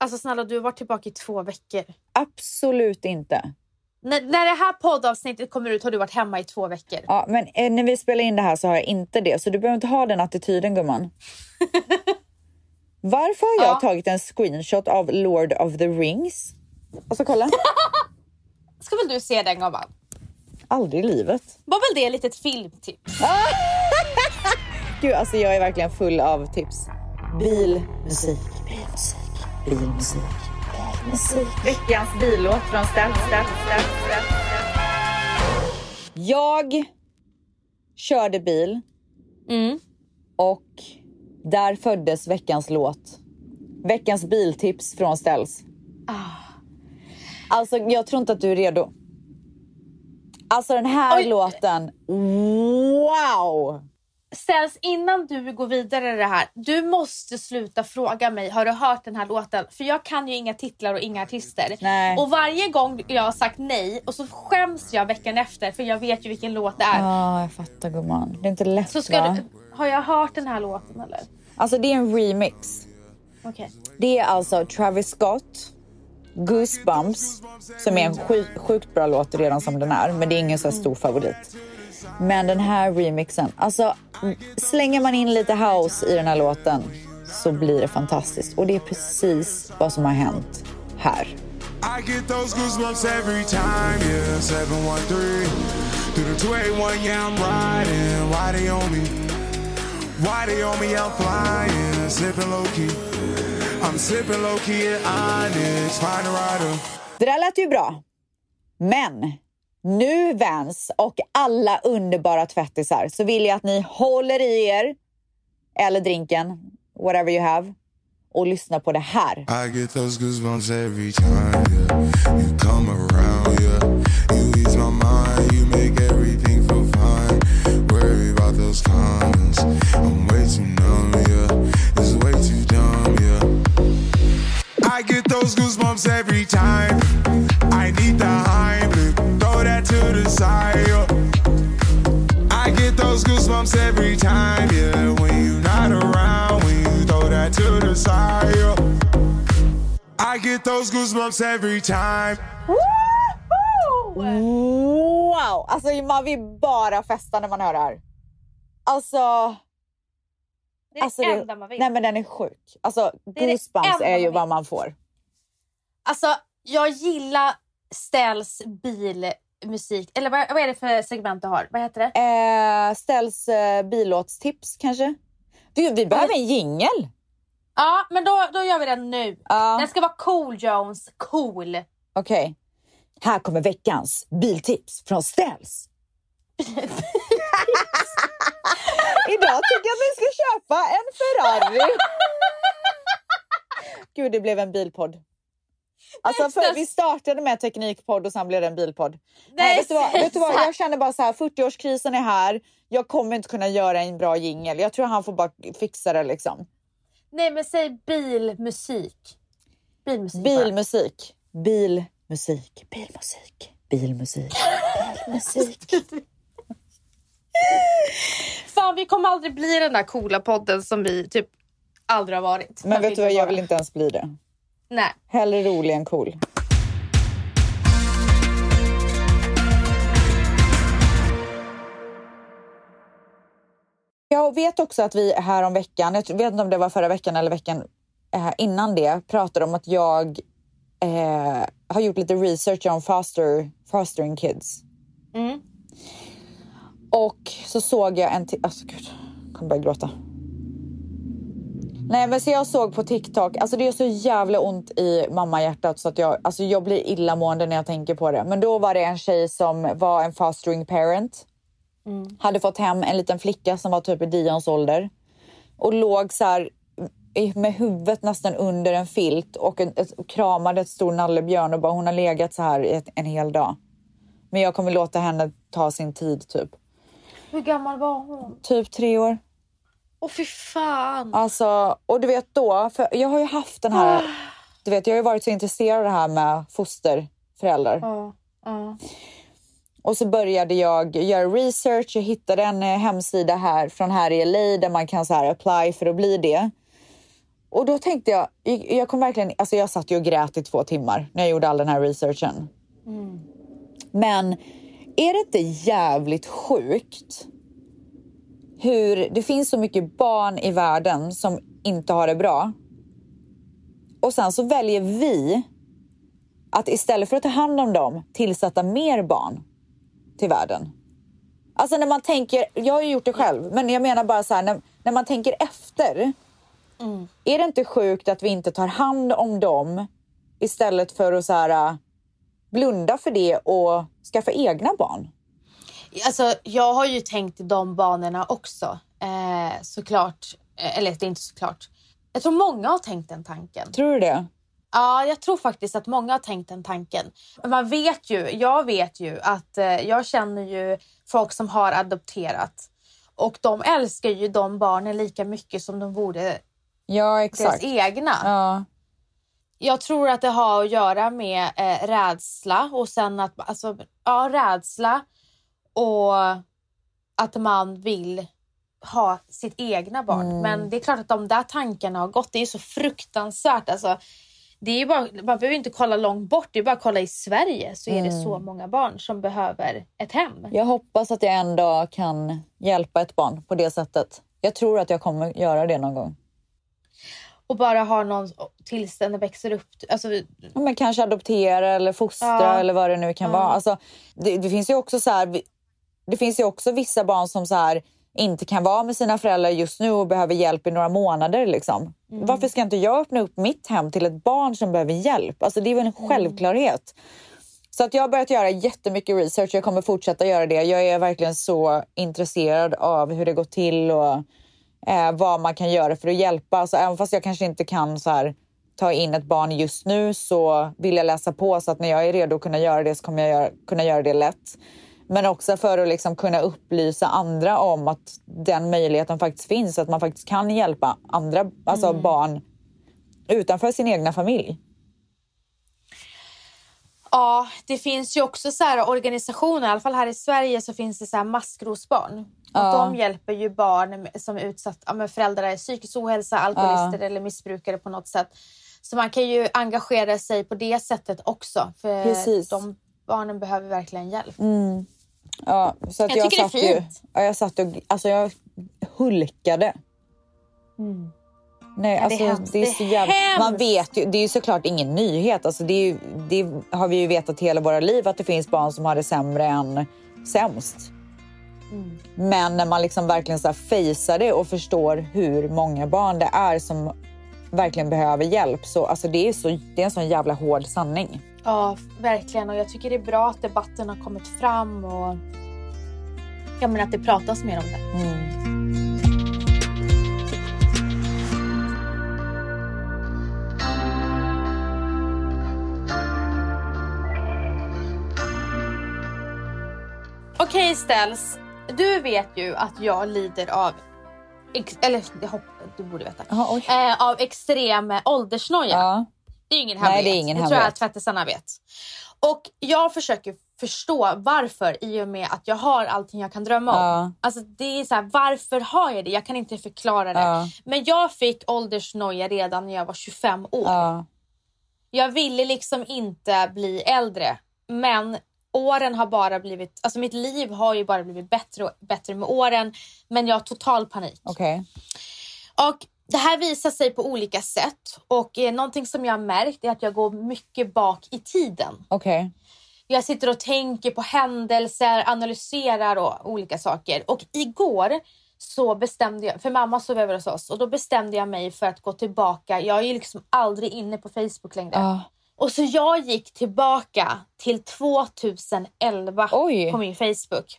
Speaker 2: Alltså snälla, du har varit tillbaka i två veckor.
Speaker 1: Absolut inte.
Speaker 2: När, när det här poddavsnittet kommer ut har du varit hemma i två veckor.
Speaker 1: Ja, men eh, när vi spelar in det här så har jag inte det, så du behöver inte ha den attityden gumman. Varför har jag
Speaker 2: Ja.
Speaker 1: tagit en screenshot av Lord of the Rings? Alltså kolla,
Speaker 2: Ska väl du se den gumman?
Speaker 1: aldrig i livet.
Speaker 2: Var väl det ett litet filmtips?
Speaker 1: Gud, alltså jag är verkligen full av tips. Bilmusik, bilmusik, bilmusik, bilmusik. Veckans bilåt från Ställ, Ställ, Ställ, Ställ, Ställ. Jag körde bil
Speaker 2: Mm.
Speaker 1: och där föddes veckans låt. Veckans biltips från Ställs.
Speaker 2: Ah.
Speaker 1: Alltså, jag tror inte att du är redo. Alltså den här
Speaker 2: Oj.
Speaker 1: låten, wow!
Speaker 2: Ställs innan du går vidare i det här. Du måste sluta fråga mig, har du hört den här låten? För jag kan ju inga titlar och inga artister.
Speaker 1: Nej.
Speaker 2: Och varje gång jag har sagt nej och så skäms jag veckan efter för jag vet ju vilken låt det är.
Speaker 1: Ja, jag fattar gumman. Det är inte lätt
Speaker 2: Så ska
Speaker 1: va?
Speaker 2: du, har jag hört den här låten eller?
Speaker 1: Alltså det är en remix.
Speaker 2: Okej.
Speaker 1: Det är alltså Travis Scott, Goosebumps, som är en sjukt, sjukt bra låt redan som den är, men det är ingen så här stor favorit. Men den här remixen, alltså m- slänger man in lite house i den här låten så blir det fantastiskt. Och det är precis vad som har hänt här.
Speaker 3: I get those goosebumps every time, yeah. 713 through the 281, yeah, I'm riding. Why they on me? Why they on me? I'm flying, sipping low key. I'm sipping low key at Onyx, find a rider.
Speaker 1: Det där lät ju bra. Men nu Vans och alla underbara tvättisar så vill jag att ni håller i er, eller drinken, whatever you have, och lyssnar på det här.
Speaker 3: I get those goosebumps every time yeah. you come around. Yeah, you ease my mind. You make everything feel fine. Worry about those comments. I'm way too numb. Yeah, it's way too dumb. Yeah, I get those goosebumps every time. I need the Heimlich. Throw that to the side. Yeah. I get those goosebumps every time. Yeah, when you're not around. When you throw that to the side. Yeah. I get those goosebumps every time.
Speaker 1: Wow! Alltså man vill bara festa när man hör det här. Alltså...
Speaker 2: Det är
Speaker 1: alltså,
Speaker 2: det enda man vill.
Speaker 1: Nej men den är sjuk. Alltså
Speaker 2: är det
Speaker 1: goosebumps
Speaker 2: enda
Speaker 1: är, ju
Speaker 2: man
Speaker 1: vad man får.
Speaker 2: Alltså, jag gillar Ställs bilmusik. Eller vad, vad är det för segment du har? Vad heter det?
Speaker 1: Eh, ställs eh, bilåtstips kanske? Du, vi behöver
Speaker 2: Alltså-
Speaker 1: en jingel!
Speaker 2: Ja, men då, då gör vi den nu.
Speaker 1: Ja.
Speaker 2: Den ska vara cool Jones. Cool.
Speaker 1: Okej. Här kommer veckans biltips från Ställs. Idag tycker jag att vi ska köpa en Ferrari. Gud, det blev en bilpodd. Alltså, för vi startade med teknikpodd och sen blev det en bilpodd. Nej, vet, du vad, vet du vad? Jag känner bara så här, 40-årskrisen är här. Jag kommer inte kunna göra en bra jingel. Jag tror han får bara fixa det liksom.
Speaker 2: Nej, men säg bilmusik. Bilmusik. bara.
Speaker 1: Bilmusik. Bilmusik. Bilmusik. Bilmusik. Bilmusik.
Speaker 2: Fan, vi kommer aldrig bli den där coola podden som vi typ aldrig har varit.
Speaker 1: Men vet du vad, jag
Speaker 2: bara-
Speaker 1: vill inte ens bli det.
Speaker 2: Nej.
Speaker 1: Hellre rolig än cool. Jag vet också att vi här om veckan, jag vet inte om det var förra veckan eller veckan eh, innan det, pratade om att jag eh, har gjort lite research om foster, fostering kids.
Speaker 2: Mm.
Speaker 1: Och så såg jag en... ti- Alltså gud, jag kommer börja gråta. Nej men så jag såg på TikTok, alltså det är så jävla ont i mammahjärtat så att jag, alltså jag blir illamående när jag tänker på det. Men då var det en tjej som var en fostering parent. Hade fått hem en liten flicka som var typ i Dions ålder. Och låg så här i- med huvudet nästan under en filt och en, ett, kramade ett stor nallebjörn och bara hon har legat så här i ett, en hel dag. Men jag kommer låta henne ta sin tid typ.
Speaker 2: Hur gammal var hon?
Speaker 1: Typ tre år.
Speaker 2: Åh, fy fan.
Speaker 1: Alltså, och du vet då, för jag har ju haft den
Speaker 2: Ah.
Speaker 1: här... Du vet, jag har ju varit så intresserad av det här med fosterföräldrar.
Speaker 2: Ja. ja.
Speaker 1: Och så började jag göra research. Jag hittade en eh, hemsida här från här i LA där man kan så här apply för att bli det. Och då tänkte jag, jag- jag kom verkligen, alltså jag satt ju och grät i två timmar när jag gjorde all den här researchen.
Speaker 2: Mm.
Speaker 1: Men är det inte jävligt sjukt hur det finns så mycket barn i världen som inte har det bra? Och sen så väljer vi att istället för att ta hand om dem tillsätta mer barn till världen. Alltså när man tänker, jag har ju gjort det själv, men jag menar bara så här när, när man Mm. tänker efter. Är det inte sjukt att vi inte tar hand om dem Istället för att så här, äh, blunda för det och skaffa egna barn.
Speaker 2: Alltså, jag har ju tänkt i de banorna också. Eh, såklart. Eh, Eller det är inte såklart. Jag tror många har tänkt den tanken.
Speaker 1: Tror du det?
Speaker 2: Ja, jag tror faktiskt att många har tänkt den tanken. Men man vet ju, jag vet ju att eh, jag känner ju folk som har adopterat. Och de älskar ju de barnen lika mycket som de vore
Speaker 1: Ja,
Speaker 2: deras
Speaker 1: exakt.
Speaker 2: egna.
Speaker 1: Ja.
Speaker 2: Jag tror att det har att göra med eh, rädsla och sen att alltså, ja, rädsla och att man vill ha sitt egna barn. Men det är klart att de där tankarna har gått. Det är ju så fruktansvärt. Alltså, det är ju bara, man behöver inte kolla långt bort. Det är bara att kolla i Sverige så är det så många barn som behöver ett hem.
Speaker 1: Jag hoppas att jag en dag kan hjälpa ett barn på det sättet. Jag tror att jag kommer göra det någon gång.
Speaker 2: Och bara ha någon tills den växer upp. Alltså,
Speaker 1: Ja, men kanske adoptera eller fostra
Speaker 2: Ja.
Speaker 1: eller vad det nu kan vara. Alltså, det, det finns ju också så här, vi- det finns ju också vissa barn som så här, inte kan vara med sina föräldrar just nu och behöver hjälp i några månader. Liksom.
Speaker 2: Mm.
Speaker 1: Varför ska inte jag öppna upp mitt hem till ett barn som behöver hjälp? Alltså, det är väl en
Speaker 2: Mm.
Speaker 1: självklarhet. Så att jag har börjat göra jättemycket research. Jag kommer fortsätta göra det. Jag är verkligen så intresserad av hur det går till och eh, vad man kan göra för att hjälpa. Alltså, även fast jag kanske inte kan så här, ta in ett barn just nu så vill jag läsa på så att när jag är redo att kunna göra det så kommer jag göra, kunna göra det lätt. Men också för att liksom kunna upplysa andra om att den möjligheten faktiskt finns. Att man faktiskt kan hjälpa andra alltså barn utanför sin egna familj.
Speaker 2: ja, det finns ju också så här organisationer, i alla fall här i Sverige så finns det så här maskrosbarn.
Speaker 1: Ja.
Speaker 2: Och de hjälper ju barn med- som är utsatta, ja, men föräldrar är psykisk ohälsa, alkoholister eller missbrukare på något sätt. Så man kan ju engagera sig på det sättet också. För
Speaker 1: Precis.
Speaker 2: de barnen behöver verkligen hjälp.
Speaker 1: Ja, så att
Speaker 2: Jag
Speaker 1: jag,
Speaker 2: tycker det är
Speaker 1: satt ju,
Speaker 2: fint.
Speaker 1: ja, jag satt och alltså jag hulkade. Nej,
Speaker 2: Mm. det är
Speaker 1: alltså,
Speaker 2: hemskt.
Speaker 1: det är
Speaker 2: Det är
Speaker 1: så jävla... Man
Speaker 2: hemskt.
Speaker 1: vet ju, det är ju såklart ingen nyhet. Alltså, det, är ju, det har vi ju vetat hela våra liv att det finns barn som har det sämre än sämst.
Speaker 2: Mm.
Speaker 1: Men när man liksom verkligen så här fejsar det och förstår hur många barn det är som verkligen behöver hjälp. Så, alltså, det, är så, det är en sån jävla hård sanning.
Speaker 2: Ja, verkligen. Och jag tycker det är bra att debatten har kommit fram och ja, men att det pratas mer om det. Mm. Okej Stels, du vet ju att jag lider av, ex- eller jag hoppas, du borde veta,
Speaker 1: Ja, oj.
Speaker 2: eh, av extrem eh, åldersnoja.
Speaker 1: Ja.
Speaker 2: Det är ingen
Speaker 1: Nej,
Speaker 2: hemlighet.
Speaker 1: det är ingen
Speaker 2: det tror jag
Speaker 1: hemlighet.
Speaker 2: att tvättisarna vet. Och jag försöker förstå varför i och med att jag har allting jag kan drömma om.
Speaker 1: Ja.
Speaker 2: Alltså det är så här, varför har jag det? Jag kan inte förklara det.
Speaker 1: Ja.
Speaker 2: Men jag fick åldersnoja redan när jag var 25 år.
Speaker 1: Ja.
Speaker 2: Jag ville liksom inte bli äldre. Men åren har bara blivit... Alltså mitt liv har ju bara blivit bättre och bättre med åren. Men jag har total panik.
Speaker 1: Okej.
Speaker 2: Och det här visar sig på olika sätt. Och eh, någonting som jag har märkt är att jag går mycket bak i tiden.
Speaker 1: Okej.
Speaker 2: Jag sitter och tänker på händelser, analyserar och olika saker. Och igår så bestämde jag, för mamma sov över hos oss och då bestämde jag mig för att gå tillbaka. Jag är ju liksom aldrig inne på Facebook längre.
Speaker 1: Ja.
Speaker 2: Och så jag gick tillbaka till 2011
Speaker 1: Oj.
Speaker 2: på min Facebook.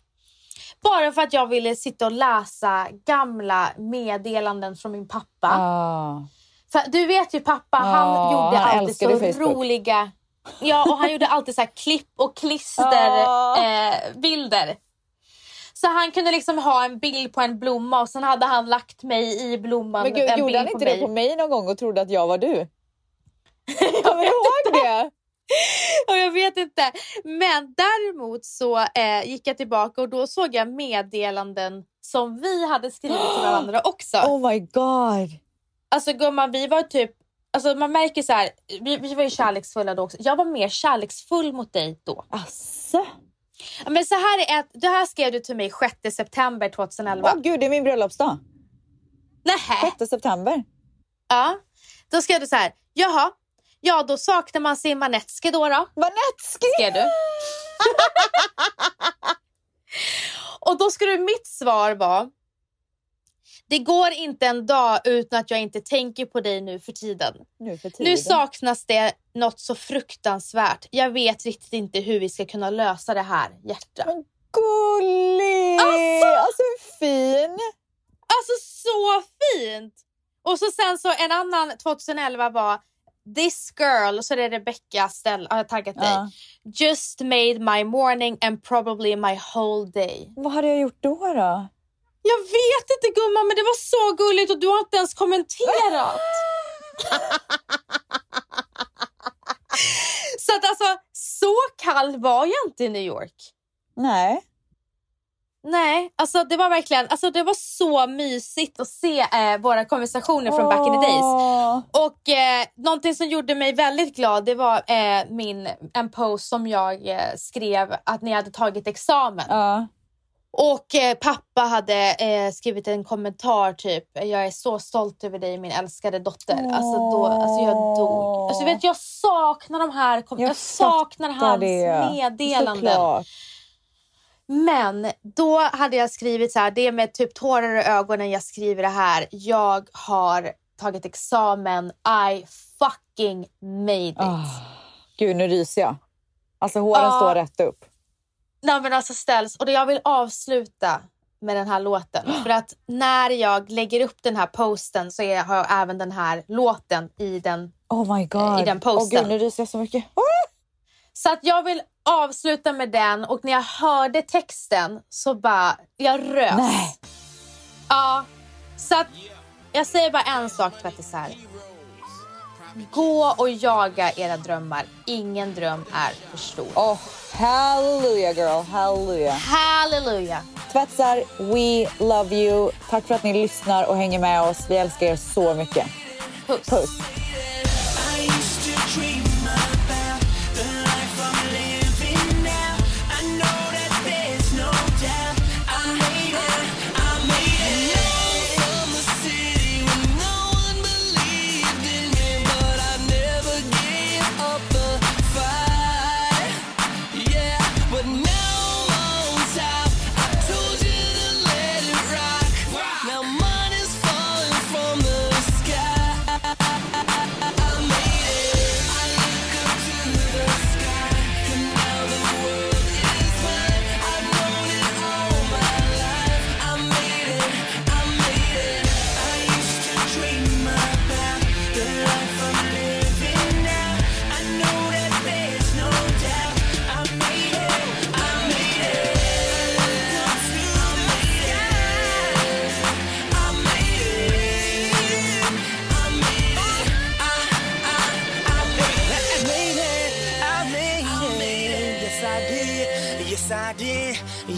Speaker 2: Bara för att jag ville sitta och läsa gamla meddelanden från min pappa.
Speaker 1: Ah.
Speaker 2: För du vet ju pappa, han
Speaker 1: Ja,
Speaker 2: gjorde
Speaker 1: han
Speaker 2: alltid så
Speaker 1: älskade Facebook.
Speaker 2: roliga... Ja, och han gjorde alltid så här klipp och klister
Speaker 1: Ja.
Speaker 2: eh, bilder. Så han kunde liksom ha en bild på en blomma och sen hade han lagt mig i blomman.
Speaker 1: Men gud,
Speaker 2: en
Speaker 1: gjorde
Speaker 2: bild
Speaker 1: han inte det på
Speaker 2: mig.
Speaker 1: mig någon gång och trodde att jag var du? Kommer du ihåg det?
Speaker 2: Och jag vet inte. Men däremot så eh, gick jag tillbaka och då såg jag meddelanden som vi hade skrivit till varandra också.
Speaker 1: Oh my god.
Speaker 2: Alltså gumman, vi var typ... Alltså man märker så här, vi, vi var ju kärleksfulla då också. Jag var mer kärleksfull mot dig då.
Speaker 1: Asså.
Speaker 2: Ja, Men så här är ett, det här skrev du till mig 6 september 2011.
Speaker 1: Åh gud, det är min
Speaker 2: Äh.
Speaker 1: bröllopsdag.
Speaker 2: Nähä!
Speaker 1: 6 september.
Speaker 2: Ja. Då skrev du så här. Jaha, ja då saknar man sin Manetski då då,
Speaker 1: Vanetski!
Speaker 2: skrev du. Och då skulle mitt svar vara. Det går inte en dag utan att jag inte tänker på dig nu för tiden.
Speaker 1: Nu för tiden.
Speaker 2: Nu saknas det något så fruktansvärt. Jag vet riktigt inte hur vi ska kunna lösa det här, hjärta.
Speaker 1: Men Gullig!
Speaker 2: Alltså!
Speaker 1: Alltså, hur fin!
Speaker 2: Alltså så fint! Och så sen så en annan 2011 var This girl, och så är det Rebecca Stell, har jag taggat dig.
Speaker 1: Ja.
Speaker 2: Just made my morning and probably my whole day.
Speaker 1: Vad hade jag gjort då? då?
Speaker 2: Jag vet inte gumman men det var så gulligt och du har inte ens kommenterat. så att alltså så kall var jag inte i New York.
Speaker 1: Nej.
Speaker 2: Nej, alltså det var verkligen alltså det var så mysigt att se eh, våra konversationer från back in the days.
Speaker 1: Åh.
Speaker 2: Och eh, någonting som gjorde mig väldigt glad det var eh, min, en post som jag eh, skrev att ni hade tagit examen.
Speaker 1: Ja.
Speaker 2: Och eh, pappa hade eh, skrivit en kommentar typ “Jag är så stolt över dig min älskade dotter”. Alltså, då, alltså jag dog. Alltså, vet, jag saknar de här kom- jag,
Speaker 1: Jag
Speaker 2: saknar
Speaker 1: fattar
Speaker 2: hans
Speaker 1: det.
Speaker 2: meddelanden.
Speaker 1: Såklart.
Speaker 2: Men då hade jag skrivit så här, det är med typ tårar i ögonen jag skriver det här. Jag har tagit examen. I fucking made it.
Speaker 1: Ah. Gud, nu ryser jag. Alltså håren
Speaker 2: Ja.
Speaker 1: står rätt upp.
Speaker 2: Nej, men alltså ställs. Och det jag vill avsluta med den här låten. För att när jag lägger upp den här posten så är, har jag även den här låten i den.
Speaker 1: Oh my god.
Speaker 2: Eh, I den
Speaker 1: Åh
Speaker 2: posten.
Speaker 1: gud, nu ryser jag så mycket.
Speaker 2: Så att jag vill avsluta med den och när jag hörde texten så bara, jag rös.
Speaker 1: Nej.
Speaker 2: Ja, så att jag säger bara en sak tvättisar. Gå och jaga era drömmar. Ingen dröm är för stor.
Speaker 1: Oh, hallelujah girl, hallelujah.
Speaker 2: Halleluja!
Speaker 1: Tvättsar, we love you. Tack för att ni lyssnar och hänger med oss. Vi älskar er så mycket.
Speaker 2: Puss!
Speaker 1: Puss.
Speaker 6: I used to dream about the life I'm living now. I know that there's no doubt. I made it, I made it. From a city where no one believed in me, but I never gave up the fight. Yeah, but now I'm on top. I told you to let it rock. Now mine is falling from the sky.
Speaker 3: Yes, I did. Yes, I did.